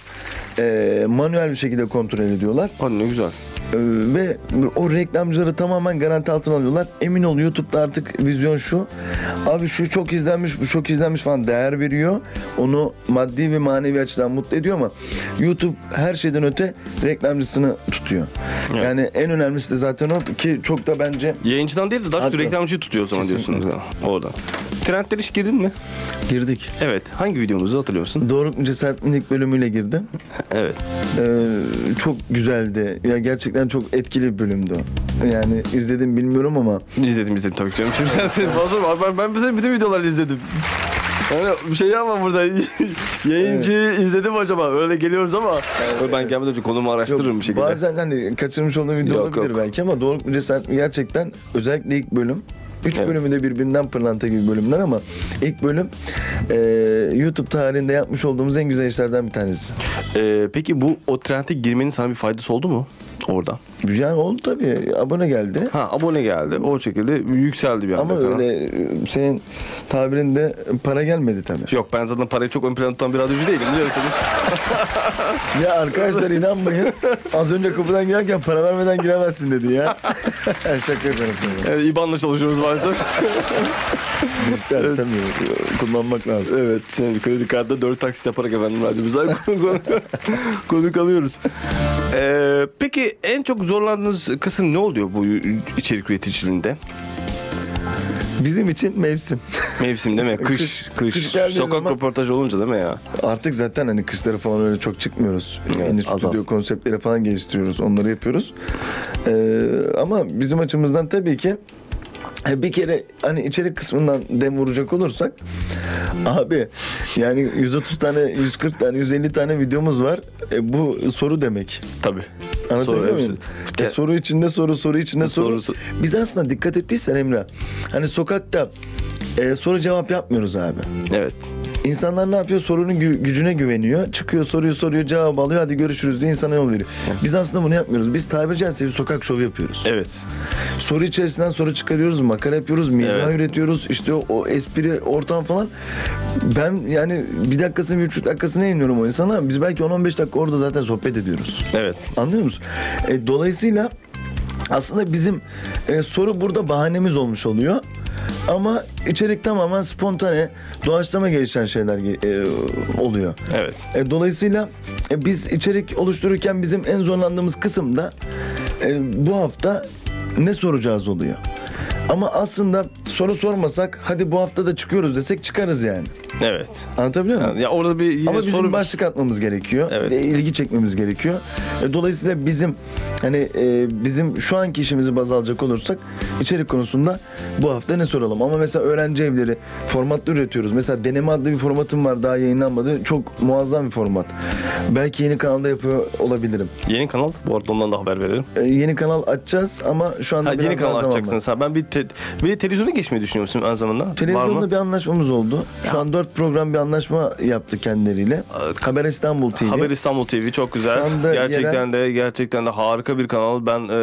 Speaker 2: e, manuel bir şekilde kontrol ediyorlar.
Speaker 1: Aa, ne güzel.
Speaker 2: E, ve o reklamcıları tamamen garanti altına alıyorlar. Emin ol YouTube'da artık vizyon şu. Abi şu çok izlenmiş, bu çok izlenmiş falan değer veriyor. Onu maddi ve manevi açıdan mutlu ediyor ama YouTube her şeyden öte reklamcısını tutuyor.
Speaker 1: Evet.
Speaker 2: Yani en önemlisi de zaten o ki çok da bence
Speaker 1: Yayıncıdan değil de daha çok
Speaker 2: Haklı.
Speaker 1: reklamcıyı tutuyor o zaman
Speaker 2: Kesinlikle.
Speaker 1: diyorsun. Orada. Trendler hiç girdin mi?
Speaker 2: girdik.
Speaker 1: Evet. Hangi videomuzu hatırlıyorsun?
Speaker 2: Doğruluk mu cesaretin ilk bölümüyle girdim.
Speaker 1: Evet.
Speaker 2: Ee, çok güzeldi. Ya gerçekten çok etkili bir bölümdü. o. Yani izledim bilmiyorum ama
Speaker 1: İzledim izledim tabii ki canım. Şimdi sen sen fazla mı? Ben, ben bütün- bütün videoları izledim. Yani bir şey yapma burada. Yayıncıyı izledim acaba. Öyle geliyoruz ama. ben gelmeden önce konumu
Speaker 2: yok,
Speaker 1: araştırırım bir şekilde.
Speaker 2: bazen hani kaçırmış olduğum video
Speaker 1: Yok,
Speaker 2: olabilir
Speaker 1: yok.
Speaker 2: belki ama doğruluk mu cesaret mi gerçekten özellikle ilk bölüm Üç
Speaker 1: Evet.
Speaker 2: bölümü de birbirinden pırlanta gibi bölümler ama ilk bölüm e, YouTube tarihinde yapmış olduğumuz en güzel işlerden bir tanesi.
Speaker 1: Ee, peki bu o trende girmenin sana bir faydası oldu mu orada?
Speaker 2: Yani oldu tabii. Abone geldi.
Speaker 1: Ha abone geldi. O şekilde yükseldi bir anda.
Speaker 2: Ama
Speaker 1: falan.
Speaker 2: öyle e, senin tabirinde para gelmedi tabii.
Speaker 1: Yok ben zaten parayı çok ön plana tutan bir radyocu değilim biliyorsun.
Speaker 2: Ya arkadaşlar inanmayın. Az önce kapıdan girerken para vermeden giremezsin dedi ya. Şaka yapıyorum sana.
Speaker 1: Yani İBAN'la çalışıyoruz maalesef.
Speaker 2: Dijital tabii kullanmak lazım.
Speaker 1: evet şimdi kredi kartı 4 taksit yaparak efendim radyomuza konuk alıyoruz. Ee, peki en çok zorlandığınız kısım ne oluyor bu içerik üreticiliğinde?
Speaker 2: Bizim için mevsim.
Speaker 1: Mevsim değil mi? Kış,
Speaker 2: Kış-
Speaker 1: kış.
Speaker 2: kış geldiği
Speaker 1: Sokak
Speaker 2: zaman-
Speaker 1: röportajı olunca değil mi ya?
Speaker 2: Artık zaten hani kışları falan öyle çok çıkmıyoruz.
Speaker 1: Evet,
Speaker 2: Yeni
Speaker 1: az
Speaker 2: stüdyo
Speaker 1: az.
Speaker 2: konseptleri falan geliştiriyoruz. Onları yapıyoruz. Ee, ama bizim açımızdan tabii ki e, bir kere hani içerik kısmından dem vuracak olursak abi yani 130 tane 140 tane 150 tane videomuz var. E, bu soru demek.
Speaker 1: Tabii.
Speaker 2: Anlatabiliyor
Speaker 1: Soru
Speaker 2: muyum?
Speaker 1: hepsi.
Speaker 2: E, soru içinde soru, soru içinde soru.
Speaker 1: Soru-
Speaker 2: Biz aslında dikkat ettiysen Emre, hani sokakta e, soru cevap yapmıyoruz abi.
Speaker 1: Evet.
Speaker 2: İnsanlar ne yapıyor? Sorunun gü- gücüne güveniyor. Çıkıyor soruyu soruyor cevap alıyor. Hadi görüşürüz diye insana yol veriyor. Biz aslında bunu yapmıyoruz. Biz tabiri caizse bir sokak şovu yapıyoruz.
Speaker 1: Evet.
Speaker 2: Soru içerisinden soru çıkarıyoruz. Makara yapıyoruz. Mizah
Speaker 1: Evet.
Speaker 2: üretiyoruz. İşte o, o espri ortam falan. Ben yani bir dakikasını bir buçuk dakikasını yayınlıyorum o insana. Biz belki 10-15 dakika orada zaten sohbet ediyoruz.
Speaker 1: Evet.
Speaker 2: Anlıyor musun? E, dolayısıyla aslında bizim e, soru burada bahanemiz olmuş oluyor. Ama içerik tamamen spontane, doğaçlama gelişen şeyler e, oluyor.
Speaker 1: Evet.
Speaker 2: E, dolayısıyla e, biz içerik oluştururken bizim en zorlandığımız kısım da e, bu hafta ne soracağız oluyor. Ama aslında soru sormasak hadi bu hafta da çıkıyoruz desek çıkarız yani.
Speaker 1: Evet.
Speaker 2: Anlatabiliyor muyum?
Speaker 1: Ya orada bir yine
Speaker 2: Ama bizim
Speaker 1: soru
Speaker 2: başlık atmamız gerekiyor.
Speaker 1: Evet.
Speaker 2: Ve ilgi çekmemiz gerekiyor. E, Dolayısıyla bizim hani e, bizim şu anki işimizi baz alacak olursak içerik konusunda bu hafta ne soralım? Ama mesela öğrenci evleri formatlı üretiyoruz. Mesela deneme adlı bir formatım var daha yayınlanmadı. Çok muazzam bir format. Belki yeni kanalda yapıyor olabilirim.
Speaker 1: yeni kanal bu arada ondan da haber verelim.
Speaker 2: E, Yeni kanal açacağız ama şu anda
Speaker 1: Ha,
Speaker 2: biraz
Speaker 1: yeni
Speaker 2: daha
Speaker 1: kanal
Speaker 2: zaman var.
Speaker 1: açacaksınız. Ha, ben bir te- bir televizyona geçmeyi düşünüyor musun aynı zamanda? Var mı?
Speaker 2: Televizyonda bir anlaşmamız oldu. Şu an dört program bir anlaşma yaptı kendileriyle. Haber İstanbul TV.
Speaker 1: Haber İstanbul TV çok
Speaker 2: şey Şu
Speaker 1: güzel.
Speaker 2: anda
Speaker 1: Gerçekten de gerçekten de harika bir kanal. Ben e,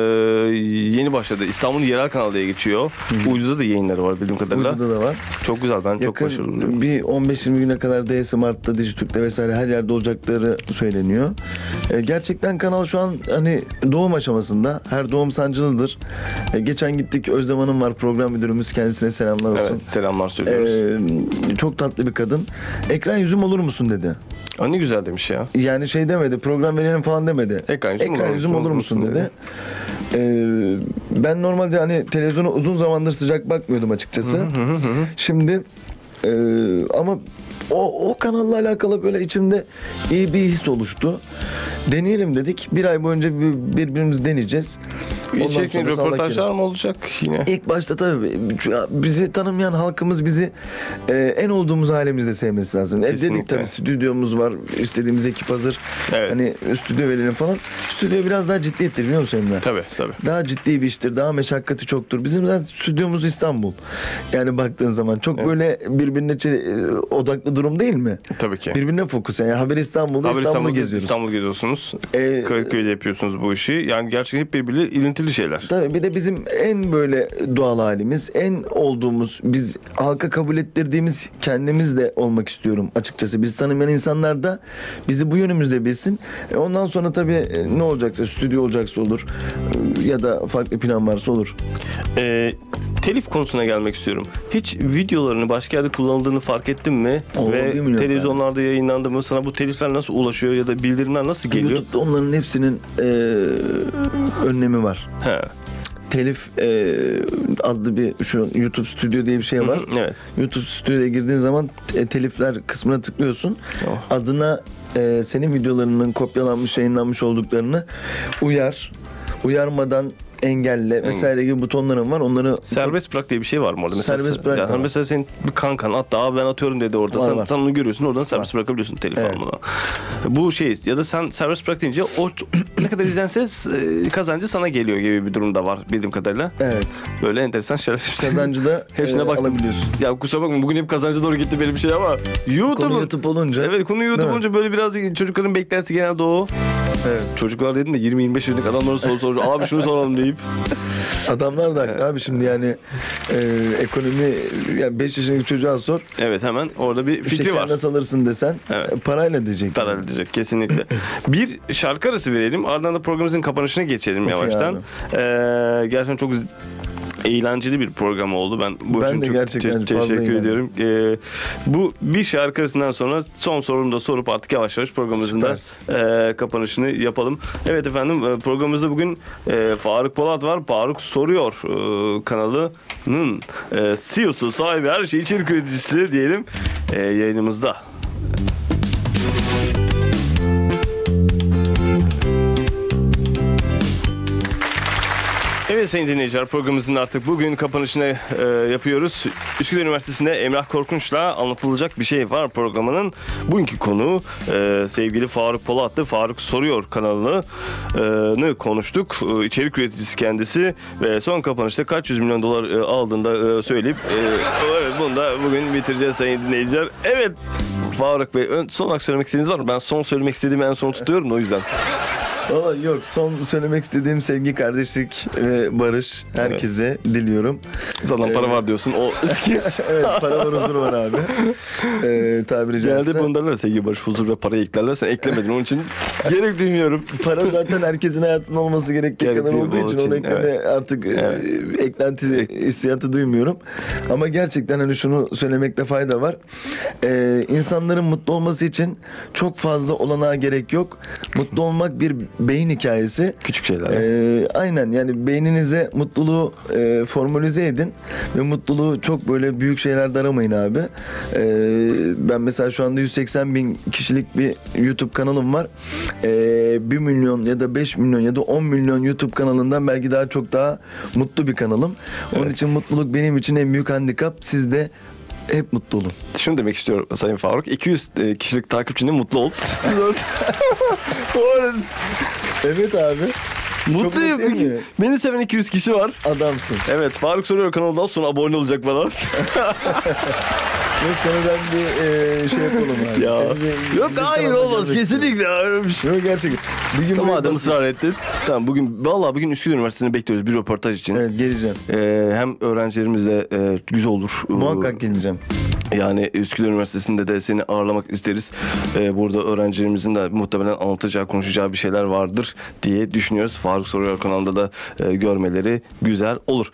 Speaker 1: yeni başladı. İstanbul yerel kanal diye geçiyor. Uydu'da da yayınları var bildiğim kadarıyla.
Speaker 2: Uydu'da da var.
Speaker 1: Çok güzel. Ben çok
Speaker 2: Yakın
Speaker 1: başarılı buluyorum.
Speaker 2: bir 15-20 güne kadar DS Mart'ta, Dijitürk'te vesaire her yerde olacakları söyleniyor. E, gerçekten kanal şu an hani doğum aşamasında. Her doğum sancılıdır. E, geçen gittik Özlem Hanım var program müdürümüz kendisine selamlar olsun.
Speaker 1: Evet, selamlar
Speaker 2: E,
Speaker 1: söylüyoruz.
Speaker 2: çok tatlı bir kadın. Ekran yüzüm olur musun dedi.
Speaker 1: Aa, ne güzel demiş ya.
Speaker 2: Yani şey demedi, program verelim falan demedi. "E
Speaker 1: Ekran yüzüm olur musun?
Speaker 2: olur musun dedi. Ee, ben normalde hani televizyona uzun zamandır sıcak bakmıyordum açıkçası. Şimdi e, ama o, o kanalla alakalı böyle içimde iyi bir his oluştu. Deneyelim dedik. Bir ay boyunca bir- birbirimizi deneyeceğiz. Ondan
Speaker 1: İçerik mi,
Speaker 2: sonra sağlık
Speaker 1: röportajlar mı olacak yine?
Speaker 2: İlk başta tabii şu- bizi tanımayan halkımız bizi e, en olduğumuz halimizde sevmesi lazım. E, dedik
Speaker 1: Kesinlikle.
Speaker 2: tabii stüdyomuz var, istediğimiz ekip hazır.
Speaker 1: Evet.
Speaker 2: Hani stüdyo verelim falan. Stüdyo biraz daha ciddiyettir biliyor musun Emre?
Speaker 1: Tabii tabii.
Speaker 2: Daha ciddi bir iştir, daha meşakkatı çoktur. Bizim zaten stüdyomuz İstanbul. Yani baktığın zaman çok böyle birbirine çe- e, odaklı durum değil mi?
Speaker 1: Tabii ki.
Speaker 2: Birbirine fokus yani. Haber
Speaker 1: Haber
Speaker 2: İstanbul'da İstanbul'u
Speaker 1: İstanbul'da
Speaker 2: geziyoruz.
Speaker 1: İstanbul geziyorsunuz.
Speaker 2: Ee,
Speaker 1: Kadıköy'de yapıyorsunuz bu işi. Yani gerçekten hep birbiriyle ilintili şeyler.
Speaker 2: Tabii bir de bizim en böyle doğal halimiz, en olduğumuz, biz halka kabul ettirdiğimiz kendimiz de olmak istiyorum açıkçası. Biz tanımayan insanlar da bizi bu yönümüzde bilsin. E, Ondan sonra tabii e, ne olacaksa, stüdyo olacaksa olur E, ya da farklı plan varsa olur.
Speaker 1: Ee, telif konusuna gelmek istiyorum. Hiç videolarını başka yerde kullanıldığını fark ettin mi?
Speaker 2: Oo,
Speaker 1: Ve
Speaker 2: bilmiyorum
Speaker 1: televizyonlarda yayınlandı mı? Sana bu telifler nasıl ulaşıyor ya da bildirimler nasıl geliyor?
Speaker 2: YouTube'da onların hepsinin e, önlemi var.
Speaker 1: He.
Speaker 2: Telif e, adlı bir şu YouTube Stüdyo diye bir şey var.
Speaker 1: Evet.
Speaker 2: YouTube Stüdyo'ya girdiğin zaman e, telifler kısmına tıklıyorsun.
Speaker 1: Oh.
Speaker 2: Adına e, senin videolarının kopyalanmış, yayınlanmış olduklarını uyar, uyarmadan
Speaker 1: Hmm.
Speaker 2: engelle vesaire gibi butonların var. Onları
Speaker 1: Serbest bırak diye bir şey var mı orada? Mesela,
Speaker 2: Serbest bırak da
Speaker 1: Yani
Speaker 2: var.
Speaker 1: mesela senin bir kankan hatta "Aa, ben atıyorum dedi orada.
Speaker 2: Var,
Speaker 1: sen,
Speaker 2: var.
Speaker 1: sen onu görüyorsun oradan serbest bırakabiliyorsun telif
Speaker 2: Evet.
Speaker 1: almadan. Bu şey ya da sen serbest bırak deyince o ne kadar izlense e, kazancı sana geliyor gibi bir durum da var bildiğim kadarıyla.
Speaker 2: evet.
Speaker 1: Böyle enteresan şeyler.
Speaker 2: Kazancı da
Speaker 1: Hepsine
Speaker 2: e,
Speaker 1: baktım.
Speaker 2: alabiliyorsun.
Speaker 1: Ya kusura bakma bugün hep kazanca doğru gitti benim şey ama
Speaker 2: Konu
Speaker 1: YouTube'un
Speaker 2: YouTube olunca.
Speaker 1: Evet konu YouTube
Speaker 2: Değil mi?
Speaker 1: olunca böyle birazcık çocukların beklentisi genelde o.
Speaker 2: Evet.
Speaker 1: Çocuklar dedim de 20-25 yaşındaki adamlara soru soruyor. Abi şunu soralım deyip.
Speaker 2: Adamlar da haklı abi şimdi yani e, ekonomi yani 5 yaşındaki çocuğa sor.
Speaker 1: Evet hemen orada bir fikri
Speaker 2: şeker
Speaker 1: var.
Speaker 2: nasıl alırsın desen
Speaker 1: Evet.
Speaker 2: e, parayla diyecek.
Speaker 1: Karar edecek kesinlikle. bir şarkı arası verelim. Ardından da programımızın kapanışına geçelim yavaştan.
Speaker 2: abi.
Speaker 1: Ee, gerçekten çok z- eğlenceli bir program oldu. Ben bu
Speaker 2: Ben
Speaker 1: için
Speaker 2: de
Speaker 1: çok
Speaker 2: gerçekten
Speaker 1: te-
Speaker 2: fazla
Speaker 1: teşekkür
Speaker 2: eğlendim.
Speaker 1: ediyorum. Ee, bu bir şarkı arasından sonra son sorumu da sorup artık yavaş yavaş programımızın da
Speaker 2: Süpersin.
Speaker 1: e, kapanışını yapalım. Evet efendim e, programımızda bugün e, Faruk Polat var. Faruk Soruyor e, kanalının e, CEO'su, sahibi, her şey içerik üreticisi diyelim e, yayınımızda. Evet Evet sayın dinleyiciler programımızın artık bugün kapanışını e, yapıyoruz. Üsküdar Üniversitesi'nde Emrah Korkunç'la anlatılacak bir şey var programının. Bugünkü konu e, sevgili Faruk Polat'tı. Faruk Soruyor kanalını konuştuk. E, içerik üreticisi kendisi ve son kapanışta kaç yüz milyon dolar e, aldığında e, söyleyip e, evet, bunu da bugün bitireceğiz sayın dinleyiciler. Evet Faruk Bey ön, son olarak söylemek istediğiniz var mı? Ben son söylemek istediğimi en son tutuyorum da o yüzden.
Speaker 2: Valla yok son söylemek istediğim sevgi, kardeşlik ve barış herkese diliyorum.
Speaker 1: Zaten para
Speaker 2: Evet.
Speaker 1: var diyorsun. O
Speaker 2: evet para var huzur var abi. Ee, tabiri caizse.
Speaker 1: Genelde bunu derler sevgili Barış Huzur ve parayı eklerler. Sen eklemedin onun için gerek duymuyorum.
Speaker 2: Para zaten herkesin hayatında olması gerektiği
Speaker 1: Gerekli
Speaker 2: kadar olduğu
Speaker 1: olduğu
Speaker 2: için
Speaker 1: için,
Speaker 2: onu ekleme
Speaker 1: evet.
Speaker 2: artık e,
Speaker 1: Evet. E-
Speaker 2: eklenti hissiyatı duymuyorum. Ama gerçekten hani şunu söylemekte fayda var. Ee, insanların mutlu olması için çok fazla olanağa gerek yok. Mutlu olmak bir beyin hikayesi.
Speaker 1: Küçük şeyler.
Speaker 2: Ee, aynen yani beyninize mutluluğu e, formülize edin ve mutluluğu çok böyle büyük şeylerde aramayın abi. Ee, ben mesela şu anda 180 bin kişilik bir YouTube kanalım var. Ee, 1 milyon ya da 5 milyon ya da 10 milyon YouTube kanalından belki daha çok daha mutlu bir kanalım. Onun için mutluluk benim için en büyük handikap. Siz de hep mutlu olun.
Speaker 1: Şunu demek istiyorum Sayın Faruk. 200 e, kişilik takipçinin mutlu ol. Bu arada
Speaker 2: Evet abi.
Speaker 1: Mutluyum.
Speaker 2: mutlu değil mi?
Speaker 1: Beni seven 200 kişi var.
Speaker 2: Adamsın.
Speaker 1: Evet Faruk soruyor kanaldan sonra abone olacak falan.
Speaker 2: Yok sana ben bir e, şey yapalım abi.
Speaker 1: ya.
Speaker 2: Seni bir-
Speaker 1: Yok
Speaker 2: bizim
Speaker 1: hayır
Speaker 2: kanalda
Speaker 1: olmaz
Speaker 2: görmek istiyorum.
Speaker 1: kesinlikle. Öyle bir şey-
Speaker 2: Yok gerçekten. Bir gün
Speaker 1: Tamam
Speaker 2: buraya
Speaker 1: adam
Speaker 2: basın-
Speaker 1: ısrar etti. Tamam bugün vallahi bugün Üsküdar Üniversitesi'ni bekliyoruz bir röportaj için.
Speaker 2: Evet geleceğim.
Speaker 1: Ee, hem öğrencilerimizle e, güzel olur. Ee,
Speaker 2: Muhakkak geleceğim.
Speaker 1: Yani Üsküdar Üniversitesi'nde de seni ağırlamak isteriz. Ee, burada öğrencilerimizin de muhtemelen anlatacağı, konuşacağı bir şeyler vardır diye düşünüyoruz. Faruk Soruyor kanalında da e, görmeleri güzel olur.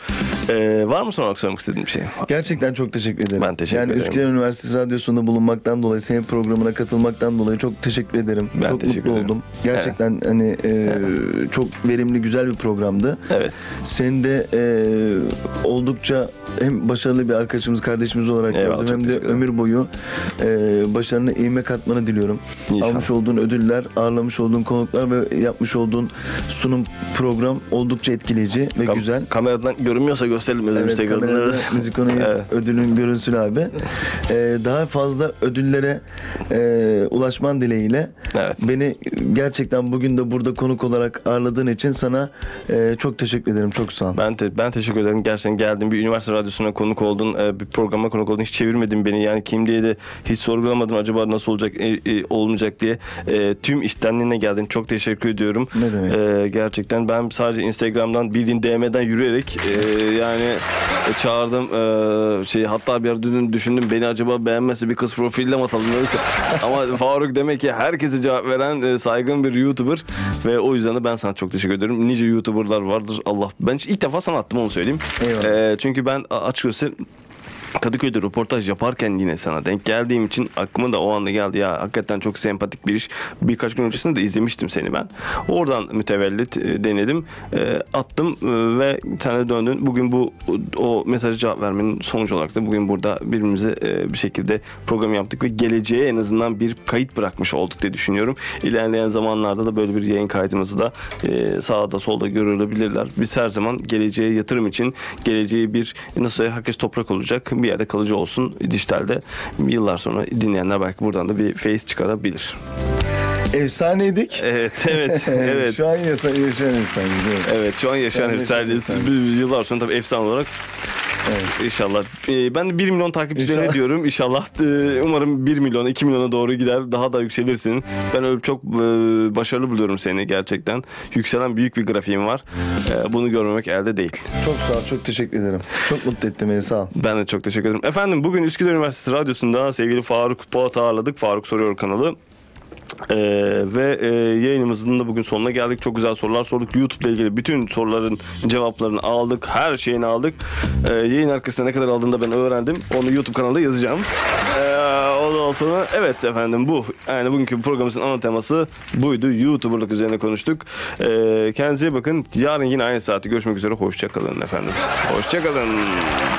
Speaker 1: Ee, var mı son olarak söylemek istediğin bir şey?
Speaker 2: Gerçekten çok teşekkür ederim.
Speaker 1: Ben teşekkür
Speaker 2: yani
Speaker 1: ederim.
Speaker 2: Üsküdar Üniversitesi Radyosu'nda bulunmaktan dolayı, senin programına katılmaktan dolayı çok teşekkür ederim.
Speaker 1: Ben
Speaker 2: çok
Speaker 1: teşekkür
Speaker 2: mutlu
Speaker 1: ederim.
Speaker 2: oldum. Gerçekten hani e, çok verimli, güzel bir programdı.
Speaker 1: Evet.
Speaker 2: Sen de e, oldukça hem başarılı bir arkadaşımız, kardeşimiz olarak
Speaker 1: Eyvallah,
Speaker 2: gördüm
Speaker 1: çok
Speaker 2: hem de
Speaker 1: teşekkür ederim.
Speaker 2: ömür boyu e, başarını ivme katmanı diliyorum.
Speaker 1: İnşallah.
Speaker 2: Almış olduğun ödüller, ağırlamış olduğun konuklar ve yapmış olduğun sunum program oldukça etkileyici ve
Speaker 1: Kam-
Speaker 2: güzel.
Speaker 1: Kameradan görünmüyorsa gösterelim özür
Speaker 2: Evet,
Speaker 1: Instagram'da.
Speaker 2: kamerada müzik onu
Speaker 1: Evet.
Speaker 2: ödülün görünsün abi. Ee, daha fazla ödüllere e, ulaşman dileğiyle
Speaker 1: Evet.
Speaker 2: beni gerçekten bugün de burada konuk olarak ağırladığın için sana e, çok teşekkür ederim. Çok sağ ol.
Speaker 1: Ben te- ben teşekkür ederim. Gerçekten geldin bir üniversite radyosuna konuk oldun. e, bir programa konuk oldun. Hiç çevirmedin beni. Yani kim diye de hiç sorgulamadım. Acaba nasıl olacak, e, e, olmayacak diye. E, tüm iştenliğine geldin. Çok teşekkür ediyorum.
Speaker 2: Ne demek?
Speaker 1: E, gerçekten ben sadece Instagram'dan bildiğin DM'den yürüyerek e, yani çağırdım. E, şey hatta bir ara dün düşündüm beni acaba beğenmezse bir kız profiline mi atalım Neyse. Ama Faruk demek ki herkese cevap veren e, saygın bir YouTuber ve o yüzden de ben sana çok teşekkür ediyorum. Nice YouTuber'lar vardır Allah. Ben ilk defa sana attım onu söyleyeyim.
Speaker 2: Eyvallah.
Speaker 1: E, çünkü ben a- açıkçası Kadıköy'de röportaj yaparken yine sana denk geldiğim için aklıma da o anda geldi. Ya hakikaten çok sempatik bir iş. Birkaç gün öncesinde de izlemiştim seni ben. Oradan mütevellit e, denedim. E, attım e, ve sen de döndün. Bugün bu o mesaja cevap vermenin sonucu olarak da bugün burada birbirimize e, bir şekilde program yaptık ve geleceğe en azından bir kayıt bırakmış olduk diye düşünüyorum. İlerleyen zamanlarda da böyle bir yayın kaydımızı da e, sağda solda görülebilirler. Biz her zaman geleceğe yatırım için geleceği bir nasıl söyleyeyim, herkes toprak olacak bir yerde kalıcı olsun dijitalde. Yıllar sonra dinleyenler belki buradan da bir face çıkarabilir.
Speaker 2: Efsaneydik. Ee,
Speaker 1: Evet, evet, E, evet.
Speaker 2: Şu an yasa- yaşayan efsaneyiz. evet.
Speaker 1: Evet şu an yaşayan
Speaker 2: Yani
Speaker 1: efsane.
Speaker 2: efsane.
Speaker 1: Biz- biz Yıllar sonra tabii efsane olarak İnşallah. Ee, ben de 1 milyon takipçilerine
Speaker 2: İnşallah.
Speaker 1: diyorum. İnşallah. Ee, umarım 1 milyona 2 milyona doğru gider. Daha da yükselirsin. Ben öyle çok e, başarılı buluyorum seni gerçekten. Yükselen büyük bir grafiğim var. Ee, bunu görmemek elde değil.
Speaker 2: Çok sağ ol. Çok teşekkür ederim. Çok mutlu ettin beni. Sağ ol.
Speaker 1: Ben de çok teşekkür ederim. Efendim bugün Üsküdar Üniversitesi Radyosu'nda sevgili Faruk Polat'ı ağırladık. Faruk Soruyor kanalı. Ee, ve e, yayınımızın da bugün sonuna geldik. Çok güzel sorular sorduk. YouTube'la ilgili bütün soruların cevaplarını aldık. Her şeyini aldık. Ee, yayın arkasında ne kadar aldığını da ben öğrendim. Onu YouTube kanalında yazacağım. Ee, ondan sonra evet efendim bu. Yani bugünkü programımızın ana teması buydu. YouTuber'lık üzerine konuştuk. Ee, kendinize iyi bakın. Yarın yine aynı saatte görüşmek üzere. Hoşçakalın efendim. Hoşçakalın. kalın.